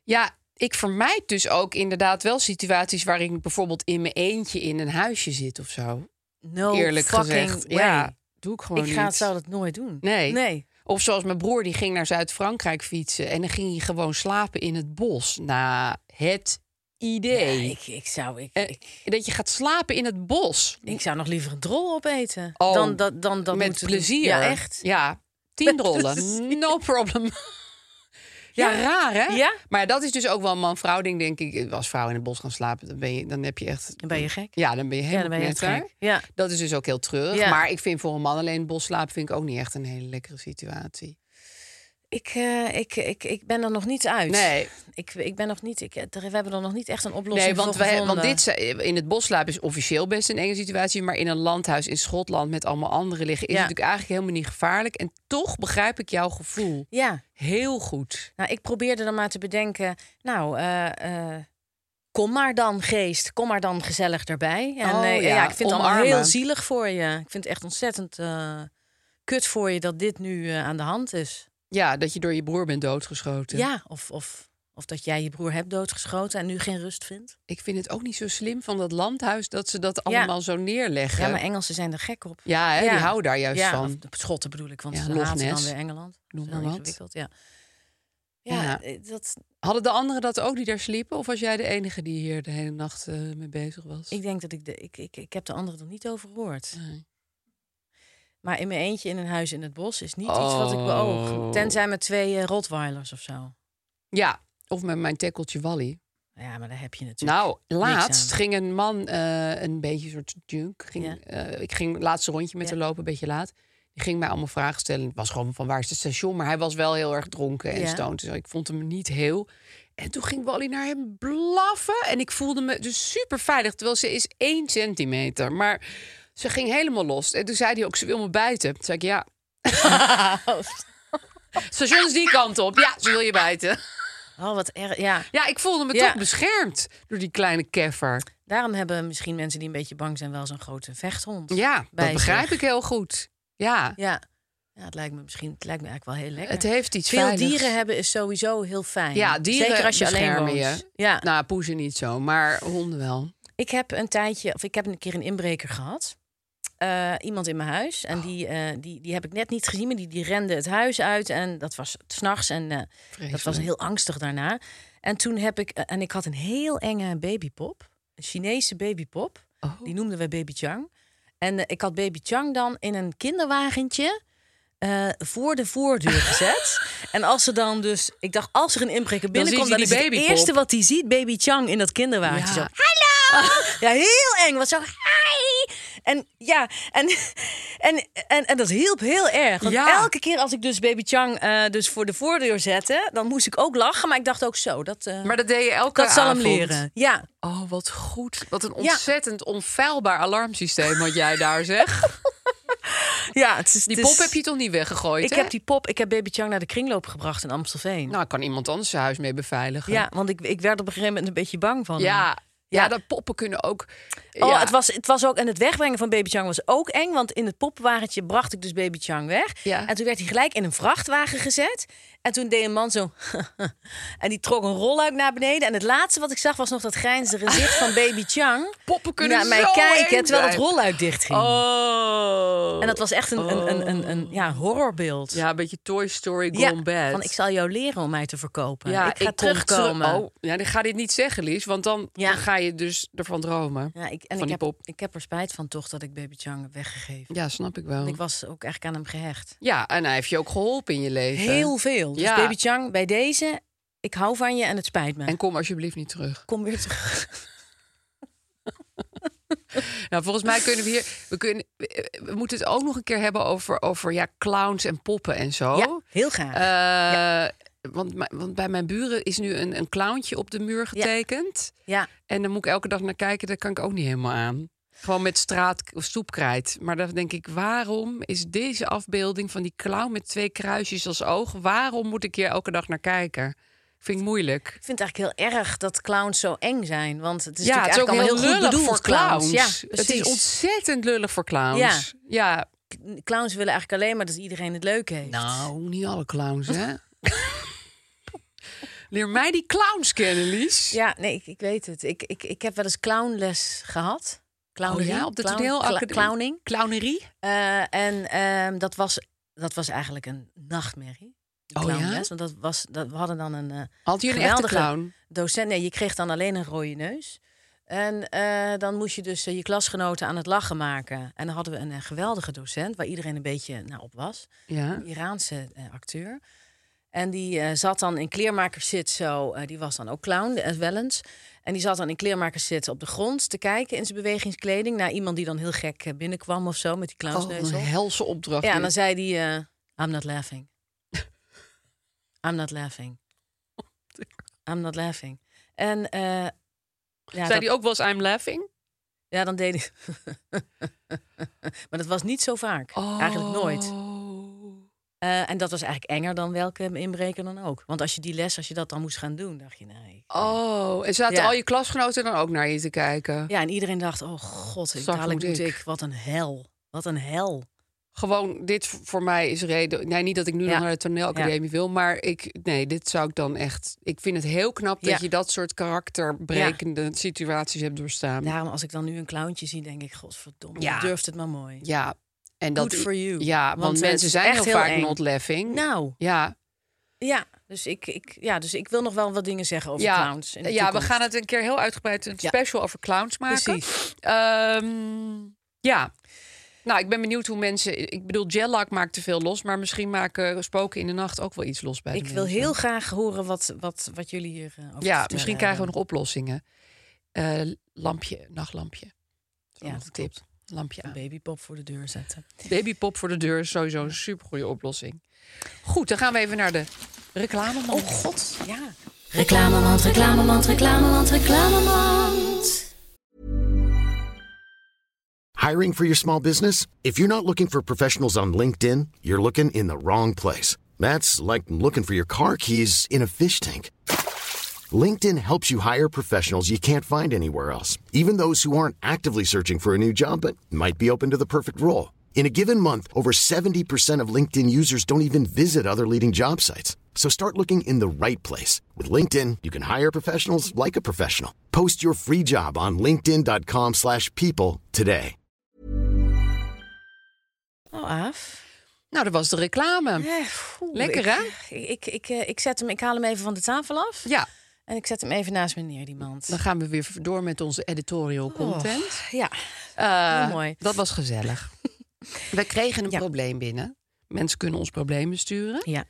Speaker 3: Ja, ik vermijd dus ook inderdaad wel situaties waarin ik bijvoorbeeld in mijn eentje in een huisje zit of zo.
Speaker 4: No
Speaker 3: eerlijk
Speaker 4: Oh, fucking
Speaker 3: gezegd.
Speaker 4: way.
Speaker 3: Ja, doe ik gewoon
Speaker 4: ik ga,
Speaker 3: niet.
Speaker 4: zou dat nooit doen.
Speaker 3: Nee.
Speaker 4: nee.
Speaker 3: Of zoals mijn broer, die ging naar Zuid-Frankrijk fietsen... en dan ging hij gewoon slapen in het bos. Na het idee.
Speaker 4: Ja, Ah, ik, ik, zou, ik,
Speaker 3: Eh,
Speaker 4: ik,
Speaker 3: dat je gaat slapen in het bos.
Speaker 4: ik zou nog liever een drol opeten.
Speaker 3: Oh,
Speaker 4: dan, dat, dan, dat
Speaker 3: Met
Speaker 4: moeten doen.
Speaker 3: plezier.
Speaker 4: Ja, echt.
Speaker 3: Ja, tien
Speaker 4: Met
Speaker 3: rollen.
Speaker 4: plezier.
Speaker 3: No problem. Ja,
Speaker 4: Ja.
Speaker 3: raar hè?
Speaker 4: Ja.
Speaker 3: Maar dat is dus ook wel een man-vrouw ding, denk ik. Als vrouw in het bos gaan slapen, dan, ben je, dan heb je echt...
Speaker 4: Dan ben je gek.
Speaker 3: Ja, dan ben je
Speaker 4: Ja,
Speaker 3: helemaal
Speaker 4: dan ben je echt
Speaker 3: knetter.
Speaker 4: gek. Ja.
Speaker 3: Dat is dus ook heel treurig.
Speaker 4: Ja.
Speaker 3: Maar ik vind voor een man alleen in het bos slapen... vind ik ook niet echt een hele lekkere situatie.
Speaker 4: Ik, eh, ik, ik, ik ben er nog niet uit.
Speaker 3: Nee.
Speaker 4: Ik, ik ben nog niet, ik, er- we hebben er nog niet echt een oplossing
Speaker 3: nee, want
Speaker 4: voor
Speaker 3: wij-
Speaker 4: gevonden.
Speaker 3: want dit zijn- in het bos slapen is officieel best een enge situatie. Maar in een landhuis in Schotland met allemaal anderen liggen... is
Speaker 4: Ja.
Speaker 3: het natuurlijk eigenlijk helemaal niet gevaarlijk. En toch begrijp ik jouw gevoel
Speaker 4: Ja.
Speaker 3: heel goed.
Speaker 4: Nou, ik probeerde dan maar te bedenken. Nou, eh, eh, kom maar dan, geest. Kom maar dan gezellig erbij. En
Speaker 3: Oh,
Speaker 4: eh,
Speaker 3: ja,
Speaker 4: ik vind het allemaal
Speaker 3: omarmen.
Speaker 4: heel zielig voor je. Ik vind het echt ontzettend eh, kut voor je dat dit nu eh, aan de hand is.
Speaker 3: Ja, dat je door je broer bent doodgeschoten.
Speaker 4: Ja, of, of, of dat jij je broer hebt doodgeschoten en nu geen rust vindt.
Speaker 3: Ik vind het ook niet zo slim van dat landhuis... dat ze dat allemaal zo neerleggen.
Speaker 4: Ja, maar Engelsen zijn er gek op.
Speaker 3: Ja, hè, die houden daar juist
Speaker 4: Ja,
Speaker 3: van.
Speaker 4: of de Schotten bedoel ik, want
Speaker 3: Ja,
Speaker 4: ze
Speaker 3: Loch
Speaker 4: haten dan
Speaker 3: Ness.
Speaker 4: weer Engeland.
Speaker 3: Noem
Speaker 4: Dat is
Speaker 3: maar
Speaker 4: heel
Speaker 3: wat.
Speaker 4: ingewikkeld, Ja. Ja,
Speaker 3: Ja.
Speaker 4: eh, dat,
Speaker 3: Hadden de anderen dat ook die daar sliepen? Of was jij de enige die hier de hele nacht eh, mee bezig was?
Speaker 4: ik denk dat ik, de, ik, ik... Ik heb de anderen er niet over gehoord.
Speaker 3: Nee.
Speaker 4: Maar in mijn eentje in een huis in het bos is niet iets wat ik
Speaker 3: Oh.
Speaker 4: beoog. Tenzij met twee eh, Rottweilers of zo.
Speaker 3: Ja, of met mijn tekkeltje Wally.
Speaker 4: Ja, maar daar heb je natuurlijk.
Speaker 3: Nou,
Speaker 4: niks
Speaker 3: laatst
Speaker 4: (laughs) aan.
Speaker 3: ging een man eh, een beetje een soort junk. Ging,
Speaker 4: Ja.
Speaker 3: eh, ik ging het laatste rondje met
Speaker 4: Ja.
Speaker 3: hem lopen, een beetje laat. Die ging mij allemaal vragen stellen. Het was gewoon van waar is het station? Maar hij was wel heel erg dronken en
Speaker 4: Ja.
Speaker 3: stoned. Dus ik vond hem niet heel. En toen ging Wally naar hem blaffen. En ik voelde me dus super veilig. Terwijl ze is één centimeter. Maar
Speaker 4: Oh,
Speaker 3: ze ging helemaal los. En toen zei hij ook, ze wil me buiten. Toen zei ik, ja, Station is die kant op. Ja, ze wil je
Speaker 4: (laughs)
Speaker 3: bijten.
Speaker 4: Oh, wat erg. Ja.
Speaker 3: Ja, ik voelde me
Speaker 4: Ja.
Speaker 3: toch beschermd door die kleine keffer.
Speaker 4: Daarom hebben misschien mensen die een beetje bang zijn wel zo'n grote vechthond.
Speaker 3: Ja,
Speaker 4: bij
Speaker 3: dat
Speaker 4: zich.
Speaker 3: begrijp ik heel goed. Ja,
Speaker 4: Ja. ja, het lijkt me misschien, het lijkt me eigenlijk wel heel lekker.
Speaker 3: het heeft iets
Speaker 4: Veel
Speaker 3: veiligs.
Speaker 4: dieren hebben is sowieso heel fijn.
Speaker 3: Ja, dieren
Speaker 4: Zeker als je alleen
Speaker 3: beschermen
Speaker 4: woont.
Speaker 3: je.
Speaker 4: Ja.
Speaker 3: Nou, poezen niet zo, maar honden wel.
Speaker 4: Ik heb een tijdje, of ik heb een keer een inbreker gehad. Eh, iemand in mijn huis.
Speaker 3: Oh.
Speaker 4: En die, eh, die, die heb ik net niet gezien, maar die, die rende het huis uit. En dat was s'nachts. En eh, dat was
Speaker 3: Vreselijk.
Speaker 4: heel angstig daarna. En toen heb ik, eh, en ik had een heel enge babypop. Een Chinese babypop.
Speaker 3: Oh.
Speaker 4: Die noemden we Baby Chang. En eh, ik had Baby Chang dan in een kinderwagentje eh, voor de voordeur
Speaker 3: (laughs)
Speaker 4: gezet. en als ze dan dus, ik dacht, als er een inbreker binnenkomt,
Speaker 3: ziet hij
Speaker 4: dan, is
Speaker 3: die
Speaker 4: het
Speaker 3: babypop.
Speaker 4: eerste wat hij ziet, Baby Chang in dat kinderwagentje.
Speaker 3: Ja.
Speaker 4: Zo, (laughs) ja, heel eng. Want zo, hi! En ja, en, (laughs) en, en, en dat hielp heel erg. Want
Speaker 3: Ja.
Speaker 4: elke keer als ik dus Baby Chang eh, dus voor de voordeur zette... dan moest ik ook lachen, maar ik dacht ook zo. Dat, eh,
Speaker 3: Maar dat deed je elke
Speaker 4: dat zal hem
Speaker 3: avond.
Speaker 4: leren. Ja,
Speaker 3: Oh, wat goed. Wat een
Speaker 4: Ja.
Speaker 3: ontzettend onfeilbaar alarmsysteem had jij
Speaker 4: (laughs)
Speaker 3: daar, zeg.
Speaker 4: ja het is,
Speaker 3: Die
Speaker 4: het is-
Speaker 3: pop heb je toch niet weggegooid,
Speaker 4: Ik
Speaker 3: hè?
Speaker 4: heb die pop, ik heb Baby Chang naar de kringloop gebracht in Amstelveen.
Speaker 3: Nou, kan iemand anders zijn huis mee beveiligen.
Speaker 4: ja, want ik, ik werd op een gegeven moment een beetje bang van
Speaker 3: Ja,
Speaker 4: hem.
Speaker 3: ja.
Speaker 4: Ja.
Speaker 3: dat poppen kunnen ook...
Speaker 4: Oh,
Speaker 3: ja.
Speaker 4: het, was, het was ook. En het wegbrengen van Baby Chang was ook eng. Want in het poppenwagentje bracht ik dus Baby Chang weg.
Speaker 3: Ja.
Speaker 4: En toen werd hij gelijk in een vrachtwagen gezet. En toen deed een man zo. (laughs) en die trok een rolluik naar beneden. En het laatste wat ik zag was nog dat grijnzende gezicht van Baby
Speaker 3: (laughs)
Speaker 4: Chang.
Speaker 3: Poppen kunnen
Speaker 4: naar mij
Speaker 3: zo
Speaker 4: kijken
Speaker 3: eng
Speaker 4: terwijl het
Speaker 3: zijn.
Speaker 4: rolluik dicht ging.
Speaker 3: Oh.
Speaker 4: En dat was echt een, een, een, een, een ja, horrorbeeld.
Speaker 3: Ja, een beetje Toy Story
Speaker 4: Ja,
Speaker 3: gone bad.
Speaker 4: van ik zal jou leren om mij te verkopen.
Speaker 3: ja,
Speaker 4: ik ga
Speaker 3: kom terug-
Speaker 4: terugkomen.
Speaker 3: Oh, ja, ik ga dit niet zeggen, Lies, want dan,
Speaker 4: Ja.
Speaker 3: dan ga je dus ervan dromen.
Speaker 4: Ja, ik,
Speaker 3: van
Speaker 4: en ik
Speaker 3: die
Speaker 4: heb,
Speaker 3: pop.
Speaker 4: ik heb er spijt van toch dat ik Baby Chang heb weggegeven.
Speaker 3: Ja, snap ik wel.
Speaker 4: Want Ik was ook eigenlijk aan hem gehecht.
Speaker 3: Ja, en hij heeft je ook geholpen in je leven.
Speaker 4: Heel veel. Dus
Speaker 3: Ja.
Speaker 4: Baby Chang, bij deze, ik hou van je en het spijt me.
Speaker 3: En kom alsjeblieft niet terug.
Speaker 4: kom weer terug.
Speaker 3: Nou, volgens mij kunnen we hier. We, kunnen, we we moeten het ook nog een keer hebben over, over ja, clowns en poppen en zo.
Speaker 4: Ja, heel graag.
Speaker 3: Eh, want, mijn- want bij mijn buren is nu een, een clowntje op de muur getekend.
Speaker 4: ja.
Speaker 3: En dan moet ik elke dag naar kijken, daar kan ik ook niet helemaal aan. Gewoon met straat of stoepkrijt. Maar dan denk ik, waarom is deze afbeelding van die clown met twee kruisjes als oog, waarom moet ik hier elke dag naar kijken? Vind ik moeilijk.
Speaker 4: Ik vind het eigenlijk heel erg dat clowns zo eng zijn. Want het is
Speaker 3: ja, het is
Speaker 4: natuurlijk
Speaker 3: ook heel,
Speaker 4: eigenlijk allemaal heel
Speaker 3: lullig
Speaker 4: goed bedoeld,
Speaker 3: voor clowns.
Speaker 4: Ja,
Speaker 3: het is
Speaker 4: precies.
Speaker 3: ontzettend lullig voor clowns. Ja.
Speaker 4: Clowns willen eigenlijk alleen maar dat iedereen het leuk heeft.
Speaker 3: Nou, niet alle clowns,
Speaker 4: (laughs)
Speaker 3: hè? Leer mij die clowns kennen, Lies.
Speaker 4: Ja, nee, ik, ik weet het. Ik, ik, ik heb wel eens clownles gehad.
Speaker 3: Oh
Speaker 4: Clownerie,
Speaker 3: ja, op de
Speaker 4: clown-
Speaker 3: toneelacademie.
Speaker 4: cla- Clowning.
Speaker 3: Clownerie?
Speaker 4: Eh, en ehm, dat, was, dat was eigenlijk een nachtmerrie.
Speaker 3: Oh ja?
Speaker 4: Clownles, Want dat was, dat, we hadden dan een... eh,
Speaker 3: Had je een echte
Speaker 4: Geweldige
Speaker 3: clown?
Speaker 4: docent. Nee, je kreeg dan alleen een rode neus. En eh, dan moest je dus eh, je klasgenoten aan het lachen maken. En dan hadden we een eh, geweldige docent, waar iedereen een beetje nou, op was.
Speaker 3: Ja.
Speaker 4: Een Iraanse eh, acteur. En die eh, zat dan in kleermakerszit zo. eh, die was dan ook clown, eh, wel eens. En die zat dan in kleermakerszit op de grond te kijken in zijn bewegingskleding... naar iemand die dan heel gek eh, binnenkwam of zo, met die
Speaker 3: Oh,
Speaker 4: clownsneus
Speaker 3: een
Speaker 4: op.
Speaker 3: helse opdracht.
Speaker 4: Ja, en dan
Speaker 3: Lies.
Speaker 4: zei hij, eh, I'm not laughing. I'm not laughing. I'm not laughing. En eh, ja,
Speaker 3: Zei
Speaker 4: dat-
Speaker 3: die ook wel eens I'm laughing?
Speaker 4: ja, dan deed hij... (laughs) maar dat was niet zo vaak. Eigenlijk nooit.
Speaker 3: Oh.
Speaker 4: Eh, en dat was eigenlijk enger dan welke inbreker dan ook. Want als je die les, als je dat dan moest gaan doen, dacht je, nee.
Speaker 3: Oh, en zaten
Speaker 4: Ja.
Speaker 3: al je klasgenoten dan ook naar je te kijken?
Speaker 4: Ja, en iedereen dacht, oh god, ik,
Speaker 3: Straks
Speaker 4: dadelijk
Speaker 3: moet ik.
Speaker 4: moet ik. Wat een hel. Wat een hel.
Speaker 3: Gewoon, dit v- voor mij is reden... Nee, niet dat ik nu
Speaker 4: Ja.
Speaker 3: nog naar de toneelacademie wil, maar ik... Nee, dit zou ik dan echt... Ik vind het heel knap
Speaker 4: Ja.
Speaker 3: dat je dat soort karakterbrekende situaties hebt doorstaan.
Speaker 4: Daarom, als ik dan nu een clowntje zie, denk ik, godverdomme,
Speaker 3: Ja.
Speaker 4: je durft het maar mooi.
Speaker 3: Ja, en dat
Speaker 4: Good for you.
Speaker 3: Ja, want,
Speaker 4: Want het
Speaker 3: mensen
Speaker 4: is
Speaker 3: zijn
Speaker 4: echt
Speaker 3: heel
Speaker 4: heel
Speaker 3: vaak
Speaker 4: eng.
Speaker 3: not laughing.
Speaker 4: Nou,
Speaker 3: ja,
Speaker 4: Ja, dus ik, ik, ja, dus ik wil nog wel wat dingen zeggen over
Speaker 3: ja,
Speaker 4: clowns. in de
Speaker 3: ja we
Speaker 4: toekomst.
Speaker 3: gaan het een keer heel uitgebreid een
Speaker 4: Ja.
Speaker 3: special over clowns maken.
Speaker 4: Precies.
Speaker 3: Ehm, ja. Nou, ik ben benieuwd hoe mensen. Ik bedoel, gelak maakt te veel los, maar misschien maken spoken in de nacht ook wel iets los bij. de
Speaker 4: Ik wil
Speaker 3: mensen.
Speaker 4: heel graag horen wat, wat, wat jullie hier eh,
Speaker 3: Ja,
Speaker 4: over te vertellen
Speaker 3: misschien krijgen we nog
Speaker 4: hebben.
Speaker 3: oplossingen. Eh, lampje, nachtlampje. Dat is
Speaker 4: Ja,
Speaker 3: nog een
Speaker 4: dat
Speaker 3: tip. Lampje aan.
Speaker 4: een babypop voor de deur zetten.
Speaker 3: Babypop voor de deur is sowieso een supergoeie oplossing. Goed, dan gaan we even naar de reclameman.
Speaker 4: Oh god, ja.
Speaker 2: Reclamemand, reclamemand, reclamemand, reclamemand.
Speaker 1: Hiring for your small business? If you're not looking for professionals on LinkedIn, you're looking in the wrong place. That's like looking for your car keys in a fish tank. LinkedIn helps you hire professionals you can't find anywhere else, even those who aren't actively searching for a new job but might be open to the perfect role. In a given month, over 70% of LinkedIn users don't even visit other leading job sites. So start looking in the right place. With LinkedIn, you can hire professionals like a professional. Post your free job on linkedin.com/people slash people today.
Speaker 4: Oh, af.
Speaker 3: Nou, dat was de reclame. Lekker, hè?
Speaker 4: Ik, ik, ik, eh, ik, zet hem, ik haal hem even van de tafel af.
Speaker 3: Ja,
Speaker 4: En ik zet hem even naast me neer, die mand. Oh,
Speaker 3: dan gaan we weer door met onze editorial content.
Speaker 4: Ja,
Speaker 3: Eh,
Speaker 4: heel mooi.
Speaker 3: Dat was
Speaker 4: (laughs)
Speaker 3: gezellig. We kregen een
Speaker 4: Ja.
Speaker 3: probleem binnen. Mensen kunnen ons problemen sturen.
Speaker 4: Ja,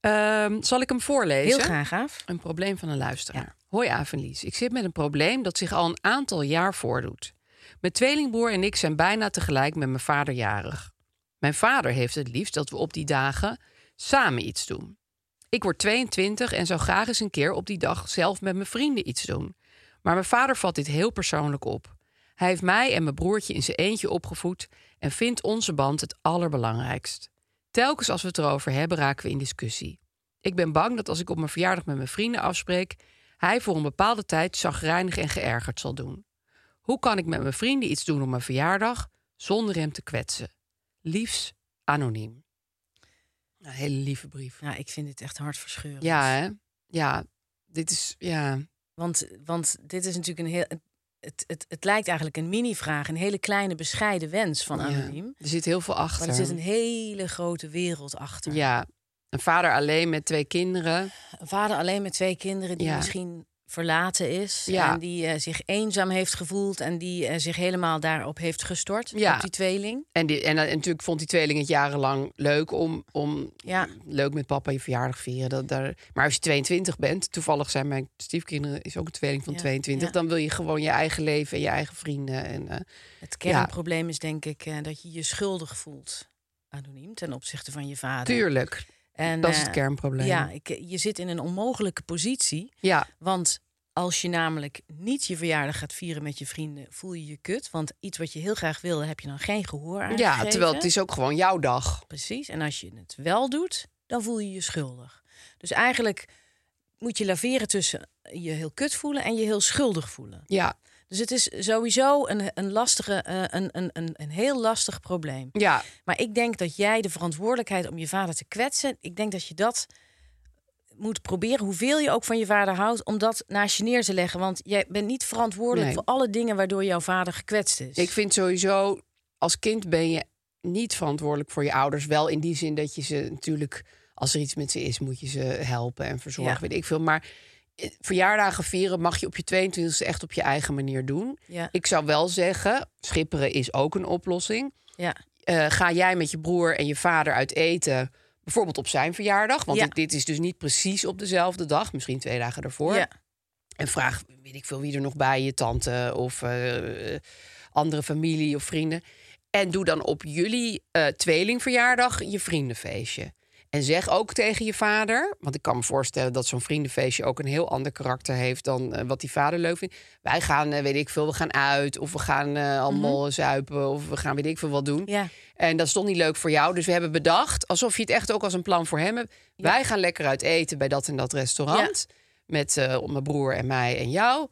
Speaker 3: Ehm, zal ik hem voorlezen?
Speaker 4: heel graag af.
Speaker 3: Een probleem van een luisteraar. Hoi Avenlies, ik zit met een probleem dat zich al een aantal jaar voordoet. Mijn tweelingbroer en ik zijn bijna tegelijk met mijn vader jarig. Mijn vader heeft het liefst dat we op die dagen samen iets doen. Ik word 22 en zou graag eens een keer op die dag zelf met mijn vrienden iets doen. Maar mijn vader vat dit heel persoonlijk op. Hij heeft mij en mijn broertje in zijn eentje opgevoed en vindt onze band het allerbelangrijkst. Telkens als we het erover hebben, raken we in discussie. Ik ben bang dat als ik op mijn verjaardag met mijn vrienden afspreek, hij voor een bepaalde tijd zagrijnig en geërgerd zal doen. Hoe kan ik met mijn vrienden iets doen op mijn verjaardag zonder hem te kwetsen? Liefst anoniem.
Speaker 4: Nou,
Speaker 3: Een hele lieve brief.
Speaker 4: Ja, ik vind dit echt hartverscheurend.
Speaker 3: Ja, hè? Ja, dit is. Ja.
Speaker 4: Want, want dit is natuurlijk een heel... Het, het, het lijkt eigenlijk een mini-vraag, een hele kleine bescheiden wens van anoniem.
Speaker 3: Ja. Er zit heel veel achter.
Speaker 4: Maar er zit een hele grote wereld achter.
Speaker 3: Ja. Een vader alleen met twee kinderen.
Speaker 4: Een vader alleen met twee kinderen die
Speaker 3: Ja.
Speaker 4: misschien verlaten is.
Speaker 3: Ja.
Speaker 4: En die eh, zich eenzaam heeft gevoeld en die eh, zich helemaal daarop heeft gestort.
Speaker 3: Ja.
Speaker 4: Op die tweeling.
Speaker 3: En, die, en, en natuurlijk vond die tweeling het jarenlang leuk om, om
Speaker 4: Ja.
Speaker 3: leuk met papa je verjaardag vieren. Dat, daar, maar als je 22 bent, toevallig zijn mijn stiefkinderen, is ook een tweeling van
Speaker 4: Ja,
Speaker 3: 22,
Speaker 4: ja.
Speaker 3: dan wil je gewoon je eigen leven en je eigen vrienden. En, eh,
Speaker 4: Het kernprobleem is denk ik eh, dat je je schuldig voelt. Anoniem ten opzichte van je vader.
Speaker 3: tuurlijk,
Speaker 4: En,
Speaker 3: dat is
Speaker 4: eh,
Speaker 3: het kernprobleem.
Speaker 4: Ja, ik, eh, je zit in een onmogelijke positie.
Speaker 3: ja,
Speaker 4: Want als je namelijk niet je verjaardag gaat vieren met je vrienden, voel je je kut. Want iets wat je heel graag wilde, heb je dan geen gehoor aan.
Speaker 3: ja
Speaker 4: gegeven.
Speaker 3: terwijl het is ook gewoon jouw dag.
Speaker 4: Precies. En als je het wel doet, dan voel je je schuldig. Dus eigenlijk moet je laveren tussen je heel kut voelen en je heel schuldig voelen.
Speaker 3: Ja,
Speaker 4: Dus het is sowieso een, een, lastige, eh, een, een, een, een heel lastig probleem.
Speaker 3: ja,
Speaker 4: Maar ik denk dat jij de verantwoordelijkheid om je vader te kwetsen, ik denk dat je dat moet proberen, hoeveel je ook van je vader houdt, om dat naast je neer te leggen. Want jij bent niet verantwoordelijk
Speaker 3: Nee.
Speaker 4: voor alle dingen waardoor jouw vader gekwetst is.
Speaker 3: ik vind sowieso, als kind ben je niet verantwoordelijk voor je ouders. Wel in die zin dat je ze natuurlijk, als er iets met ze is, moet je ze helpen en verzorgen,
Speaker 4: Ja.
Speaker 3: weet ik veel. Maar eh, verjaardagen vieren mag je op je 22e echt op je eigen manier doen.
Speaker 4: ja,
Speaker 3: Ik zou wel zeggen, schipperen is ook een oplossing.
Speaker 4: ja,
Speaker 3: Eh, ga jij met je broer en je vader uit eten, bijvoorbeeld op zijn verjaardag? Want
Speaker 4: Ja.
Speaker 3: dit, dit is dus niet precies op dezelfde dag, misschien twee dagen daarvoor.
Speaker 4: ja,
Speaker 3: En vraag, weet ik veel, wie er nog bij je tante of eh, andere familie of vrienden. En doe dan op jullie eh, tweelingverjaardag je vriendenfeestje. En zeg ook tegen je vader, want ik kan me voorstellen dat zo'n vriendenfeestje ook een heel ander karakter heeft dan eh, wat die vader leuk vindt. Wij gaan, eh, weet ik veel, we gaan uit of we gaan eh, allemaal zuipen of we gaan, weet ik veel, wat doen.
Speaker 4: ja.
Speaker 3: En dat is toch niet leuk voor jou. Dus we hebben bedacht, alsof je het echt ook als een plan voor hem hebt. Wij gaan lekker uit eten bij dat en dat restaurant. Met eh, mijn broer en mij en jou.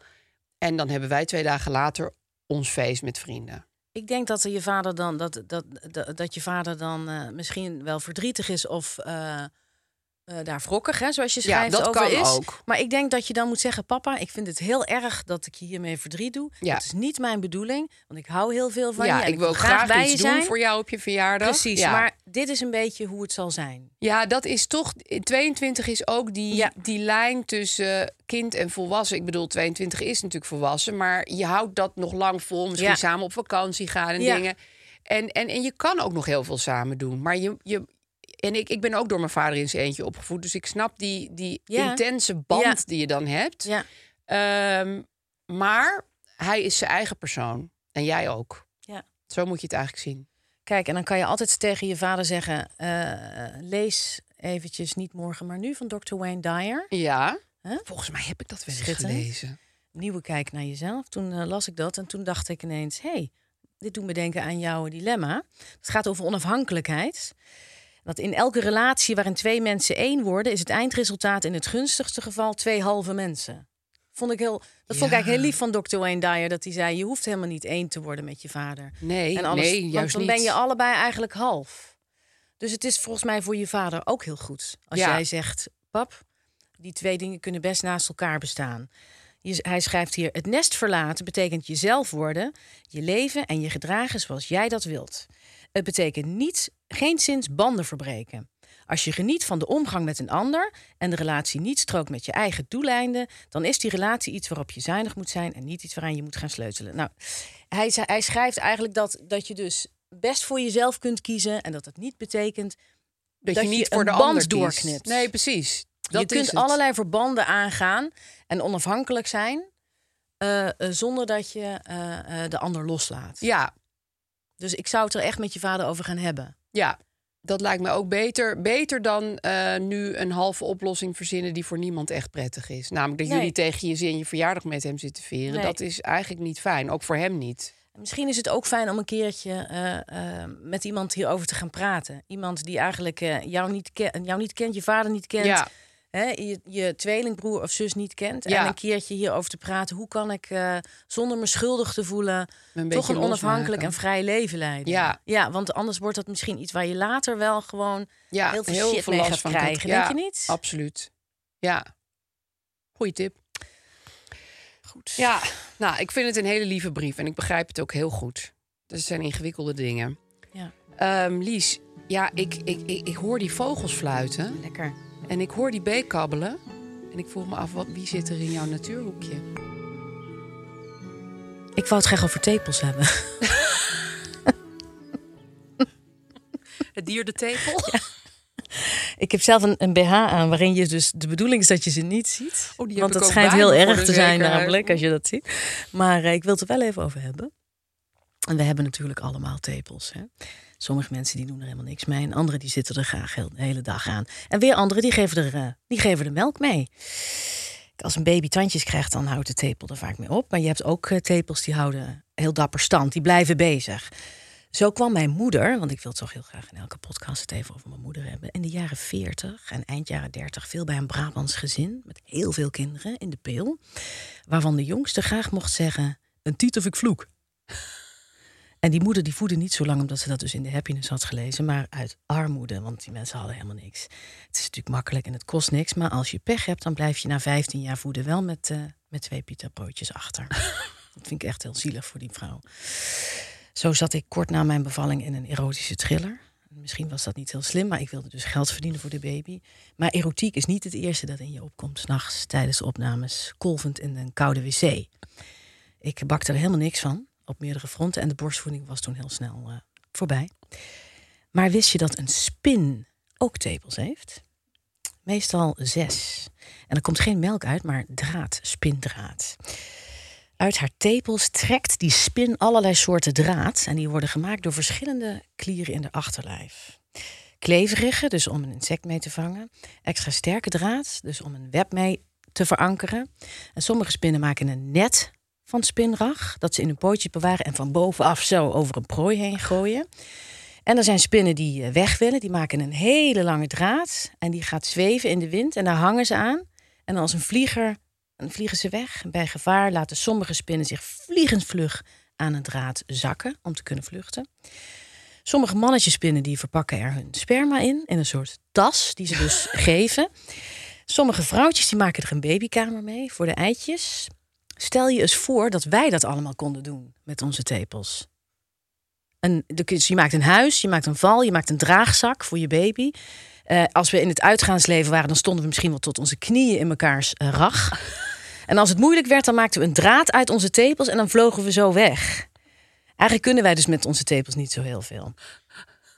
Speaker 3: En dan hebben wij twee dagen later ons feest met vrienden.
Speaker 4: Ik denk dat je vader dan dat, dat, dat, dat je vader dan eh, misschien wel verdrietig is of eh, eh, daar wrokkig, hè, zoals je
Speaker 3: Ja,
Speaker 4: schrijft,
Speaker 3: dat
Speaker 4: over
Speaker 3: kan
Speaker 4: is.
Speaker 3: ook.
Speaker 4: Maar ik denk dat je dan moet zeggen, papa, ik vind het heel erg dat ik je hiermee verdriet doe.
Speaker 3: Ja.
Speaker 4: Dat is niet mijn bedoeling, want ik hou heel veel van
Speaker 3: ja,
Speaker 4: je. en
Speaker 3: ik wil
Speaker 4: wil
Speaker 3: graag,
Speaker 4: bij
Speaker 3: iets
Speaker 4: je
Speaker 3: doen
Speaker 4: zijn.
Speaker 3: voor jou op je verjaardag.
Speaker 4: Precies,
Speaker 3: ja.
Speaker 4: maar dit is een beetje hoe het zal zijn.
Speaker 3: Ja, dat is toch. 22 is ook die,
Speaker 4: Ja.
Speaker 3: die lijn tussen kind en volwassen. Ik bedoel, 22 is natuurlijk volwassen, maar je houdt dat nog lang vol. Misschien
Speaker 4: Ja.
Speaker 3: samen op vakantie gaan en
Speaker 4: Ja.
Speaker 3: dingen. En, en, en je kan ook nog heel veel samen doen. Maar je. je en ik, ik ben ook door mijn vader in zijn eentje opgevoed. Dus ik snap die, die
Speaker 4: Ja.
Speaker 3: intense band
Speaker 4: Ja.
Speaker 3: die je dan hebt.
Speaker 4: Ja,
Speaker 3: Ehm, maar hij is zijn eigen persoon. En jij ook.
Speaker 4: ja.
Speaker 3: Zo moet je het eigenlijk zien.
Speaker 4: Kijk, en dan kan je altijd tegen je vader zeggen, eh, lees eventjes niet morgen, maar nu van Dr. Wayne Dyer.
Speaker 3: Ja.
Speaker 4: Huh?
Speaker 3: Volgens mij heb ik dat wel eens
Speaker 4: Schitterend.
Speaker 3: gelezen.
Speaker 4: nieuwe kijk naar jezelf. Toen eh, las ik dat en toen dacht ik ineens: hé, hey, dit doet me denken aan jouw dilemma. Het gaat over onafhankelijkheid. Dat in elke relatie waarin twee mensen één worden, is het eindresultaat in het gunstigste geval twee halve mensen. Vond ik heel, dat vond ik eigenlijk heel lief van Dr. Wayne Dyer. Dat hij zei: Je hoeft helemaal niet één te worden met je vader.
Speaker 3: Nee,
Speaker 4: en anders,
Speaker 3: nee,
Speaker 4: want
Speaker 3: juist
Speaker 4: dan
Speaker 3: niet.
Speaker 4: ben je allebei eigenlijk half. Dus het is volgens mij voor je vader ook heel goed. Als
Speaker 3: Ja.
Speaker 4: jij zegt: Pap, die twee dingen kunnen best naast elkaar bestaan. Je- hij schrijft hier: Het nest verlaten betekent jezelf worden, je leven en je gedragen zoals jij dat wilt. Het betekent niet, geen zins banden verbreken. Als je geniet van de omgang met een ander en de relatie niet strookt met je eigen doeleinden, dan is die relatie iets waarop je zuinig moet zijn en niet iets waaraan je moet gaan sleutelen. Nou, hij, ze- hij schrijft eigenlijk dat, dat je dus best voor jezelf kunt kiezen en dat dat niet betekent.
Speaker 3: Dat,
Speaker 4: dat
Speaker 3: je
Speaker 4: je
Speaker 3: niet
Speaker 4: een
Speaker 3: voor de
Speaker 4: band
Speaker 3: ander kiest.
Speaker 4: doorknipt.
Speaker 3: Nee, precies. Dat
Speaker 4: je kunt
Speaker 3: is het.
Speaker 4: allerlei verbanden aangaan en onafhankelijk zijn eh, eh, zonder dat je eh, eh, de ander loslaat.
Speaker 3: Ja,
Speaker 4: Dus ik zou het er echt met je vader over gaan hebben.
Speaker 3: ja. Dat lijkt me ook beter. Beter dan eh, nu een halve oplossing verzinnen die voor niemand echt prettig is. Namelijk dat
Speaker 4: Nee.
Speaker 3: jullie tegen je zin je verjaardag met hem zitten vieren.
Speaker 4: Nee.
Speaker 3: Dat is eigenlijk niet fijn. Ook voor hem niet.
Speaker 4: Misschien is het ook fijn om een keertje eh, eh, met iemand hierover te gaan praten. Iemand die eigenlijk eh, jou, niet ken- jou niet kent, je vader niet kent,
Speaker 3: Ja.
Speaker 4: hè, je, je tweelingbroer of zus niet kent.
Speaker 3: Ja.
Speaker 4: En een keertje hierover te praten. Hoe kan ik eh, zonder me schuldig te voelen
Speaker 3: Me een
Speaker 4: toch
Speaker 3: beetje
Speaker 4: een onafhankelijk
Speaker 3: losmaken.
Speaker 4: en vrij leven leiden?
Speaker 3: Ja.
Speaker 4: ja, want anders wordt dat misschien iets waar je later wel gewoon
Speaker 3: Ja,
Speaker 4: heel veel shit mee
Speaker 3: last
Speaker 4: gaat
Speaker 3: van
Speaker 4: krijgen,
Speaker 3: krijgen.
Speaker 4: denk
Speaker 3: Ja,
Speaker 4: je niet?
Speaker 3: Absoluut. Ja. Goeie tip.
Speaker 4: goed.
Speaker 3: Ja, nou, ik vind het een hele lieve brief en ik begrijp het ook heel goed. Dat zijn ingewikkelde dingen.
Speaker 4: Ja.
Speaker 3: Ehm, Lies, ja, ik, ik, ik, ik hoor die vogels fluiten
Speaker 4: Lekker.
Speaker 3: en ik hoor die beek kabbelen. En ik vroeg me af, wat, wie zit er in jouw natuurhoekje?
Speaker 4: Ik wou het graag over tepels hebben.
Speaker 3: Het dier de (laughs) tepel?
Speaker 4: Ik heb zelf een, een BH aan waarin je dus de bedoeling is dat je ze niet ziet.
Speaker 3: Oh, die heb ik
Speaker 4: want dat
Speaker 3: ook
Speaker 4: schijnt
Speaker 3: bij
Speaker 4: heel
Speaker 3: me voor
Speaker 4: erg
Speaker 3: de
Speaker 4: te zijn
Speaker 3: zekerheid.
Speaker 4: namelijk als je dat ziet. Maar eh, ik wil het er wel even over hebben. En we hebben natuurlijk allemaal tepels. Hè? Sommige mensen die doen er helemaal niks mee. En anderen die zitten er graag heel, de hele dag aan. En weer anderen die geven er, eh, die geven er melk mee. Als een baby tandjes krijgt, dan houdt de tepel er vaak mee op. Maar je hebt ook eh, tepels die houden heel dapper stand. Die blijven bezig. Zo kwam mijn moeder, want ik wil toch heel graag in elke podcast het even over mijn moeder hebben. In de jaren 40 en eind jaren 30 veel bij een Brabants gezin met heel veel kinderen in de peel. Waarvan de jongste graag mocht zeggen, een tiet of ik vloek. (laughs) En die moeder die voedde niet zo lang omdat ze dat dus in de happiness had gelezen, maar uit armoede, want die mensen hadden helemaal niks. Het is natuurlijk makkelijk en het kost niks, maar als je pech hebt, dan blijf je na 15 jaar voeden wel met, eh, met twee pita broodjes achter. dat vind ik echt heel zielig voor die vrouw. Zo zat ik kort na mijn bevalling in een erotische thriller. Misschien was dat niet heel slim, maar ik wilde dus geld verdienen voor de baby. Maar erotiek is niet het eerste dat in je opkomt s'nachts tijdens de opnames, kolvend in een koude wc. Ik bakte er helemaal niks van op meerdere fronten en de borstvoeding was toen heel snel eh, voorbij. Maar wist je dat een spin ook tepels heeft? Meestal zes. En er komt geen melk uit, maar draad, spindraad. Uit haar tepels trekt die spin allerlei soorten draad. En die worden gemaakt door verschillende klieren in de achterlijf. Kleverige, dus om een insect mee te vangen. Extra sterke draad, dus om een web mee te verankeren. En sommige spinnen maken een net van spinrag. Dat ze in hun pootjes bewaren en van bovenaf zo over een prooi heen gooien. En er zijn spinnen die eh, weg willen. Die maken een hele lange draad. En die gaat zweven in de wind. En daar hangen ze aan. En als een vlieger dan vliegen ze weg. En bij gevaar laten sommige spinnen zich vliegensvlug aan een draad zakken om te kunnen vluchten. Sommige mannetjespinnen die verpakken er hun sperma in, in een soort tas die ze dus geven. Sommige vrouwtjes die maken er een babykamer mee voor de eitjes. Stel je eens voor dat wij dat allemaal konden doen met onze tepels. Een, dus je maakt een huis, je maakt een val, je maakt een draagzak voor je baby. Eh, als we in het uitgaansleven waren, dan stonden we misschien wel tot onze knieën in mekaars eh, rag. En als het moeilijk werd, dan maakten we een draad uit onze tepels en dan vlogen we zo weg. Eigenlijk kunnen wij dus met onze tepels niet zo heel veel.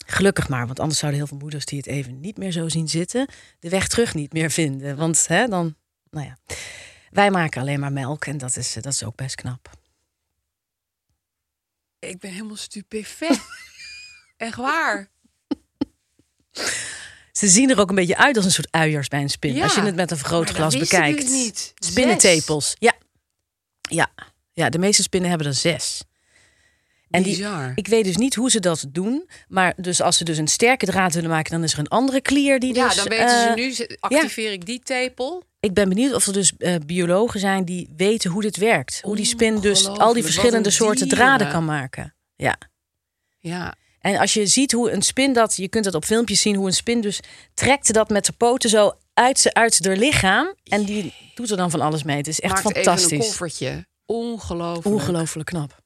Speaker 4: Gelukkig maar, want anders zouden heel veel moeders die het even niet meer zo zien zitten, de weg terug niet meer vinden. Want hè, dan, nou ja. Wij maken alleen maar melk en dat is, eh, dat is ook best knap.
Speaker 3: Ik ben helemaal stupefait. (laughs) Echt waar.
Speaker 4: Ze zien er ook een beetje uit als een soort uiers bij een spin.
Speaker 3: Ja.
Speaker 4: Als je het met een vergrootglas
Speaker 3: Maar dat wist ik
Speaker 4: bekijkt.
Speaker 3: dus niet.
Speaker 4: Spinnentepels. Ja. ja. Ja, de meeste spinnen hebben er zes. En die,
Speaker 3: Bizar.
Speaker 4: ik weet dus niet hoe ze dat doen. Maar dus als ze dus een sterke draad willen maken, dan is er een andere klier die
Speaker 3: Ja,
Speaker 4: dus...
Speaker 3: dan weten ze
Speaker 4: eh,
Speaker 3: nu, ze- activeer ik die tepel.
Speaker 4: Ik ben benieuwd of er dus eh, biologen zijn die weten hoe dit werkt. Hoe die spin dus al
Speaker 3: Ongelooflijk,
Speaker 4: die
Speaker 3: wat
Speaker 4: verschillende
Speaker 3: een
Speaker 4: soorten
Speaker 3: dieren.
Speaker 4: draden kan maken. Ja.
Speaker 3: Ja,
Speaker 4: En als je ziet hoe een spin dat, je kunt dat op filmpjes zien, hoe een spin dus trekt dat met de poten zo uit, ze- uit haar lichaam. En die doet er dan van alles mee. Het is echt
Speaker 3: maakt even een
Speaker 4: fantastisch.
Speaker 3: koffertje. Ongelooflijk.
Speaker 4: Ongelooflijk knap.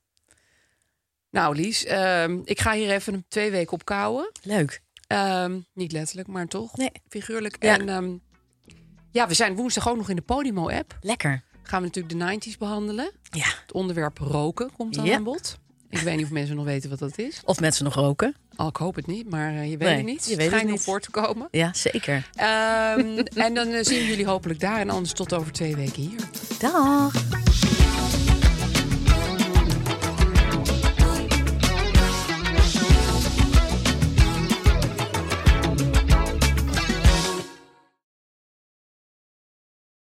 Speaker 3: Nou, Lies, ehm, ik ga hier even twee weken op kouwen.
Speaker 4: Leuk.
Speaker 3: Ehm, niet letterlijk, maar toch
Speaker 4: Nee.
Speaker 3: figuurlijk.
Speaker 4: Ja.
Speaker 3: En ehm, ja, we zijn woensdag ook nog in de Podimo-app.
Speaker 4: Lekker.
Speaker 3: Gaan we natuurlijk de 90s behandelen.
Speaker 4: Ja.
Speaker 3: Het onderwerp roken komt dan
Speaker 4: Ja.
Speaker 3: aan bod. Ik weet niet of mensen nog weten wat dat is.
Speaker 4: Of mensen nog roken.
Speaker 3: Al, ik hoop het niet, maar eh, je weet
Speaker 4: Nee,
Speaker 3: het niet.
Speaker 4: je weet het
Speaker 3: Schijn
Speaker 4: niet.
Speaker 3: voor te komen.
Speaker 4: Ja, zeker.
Speaker 3: Ehm, en dan eh, zien we jullie hopelijk daar. En anders tot over twee weken hier.
Speaker 4: Dag.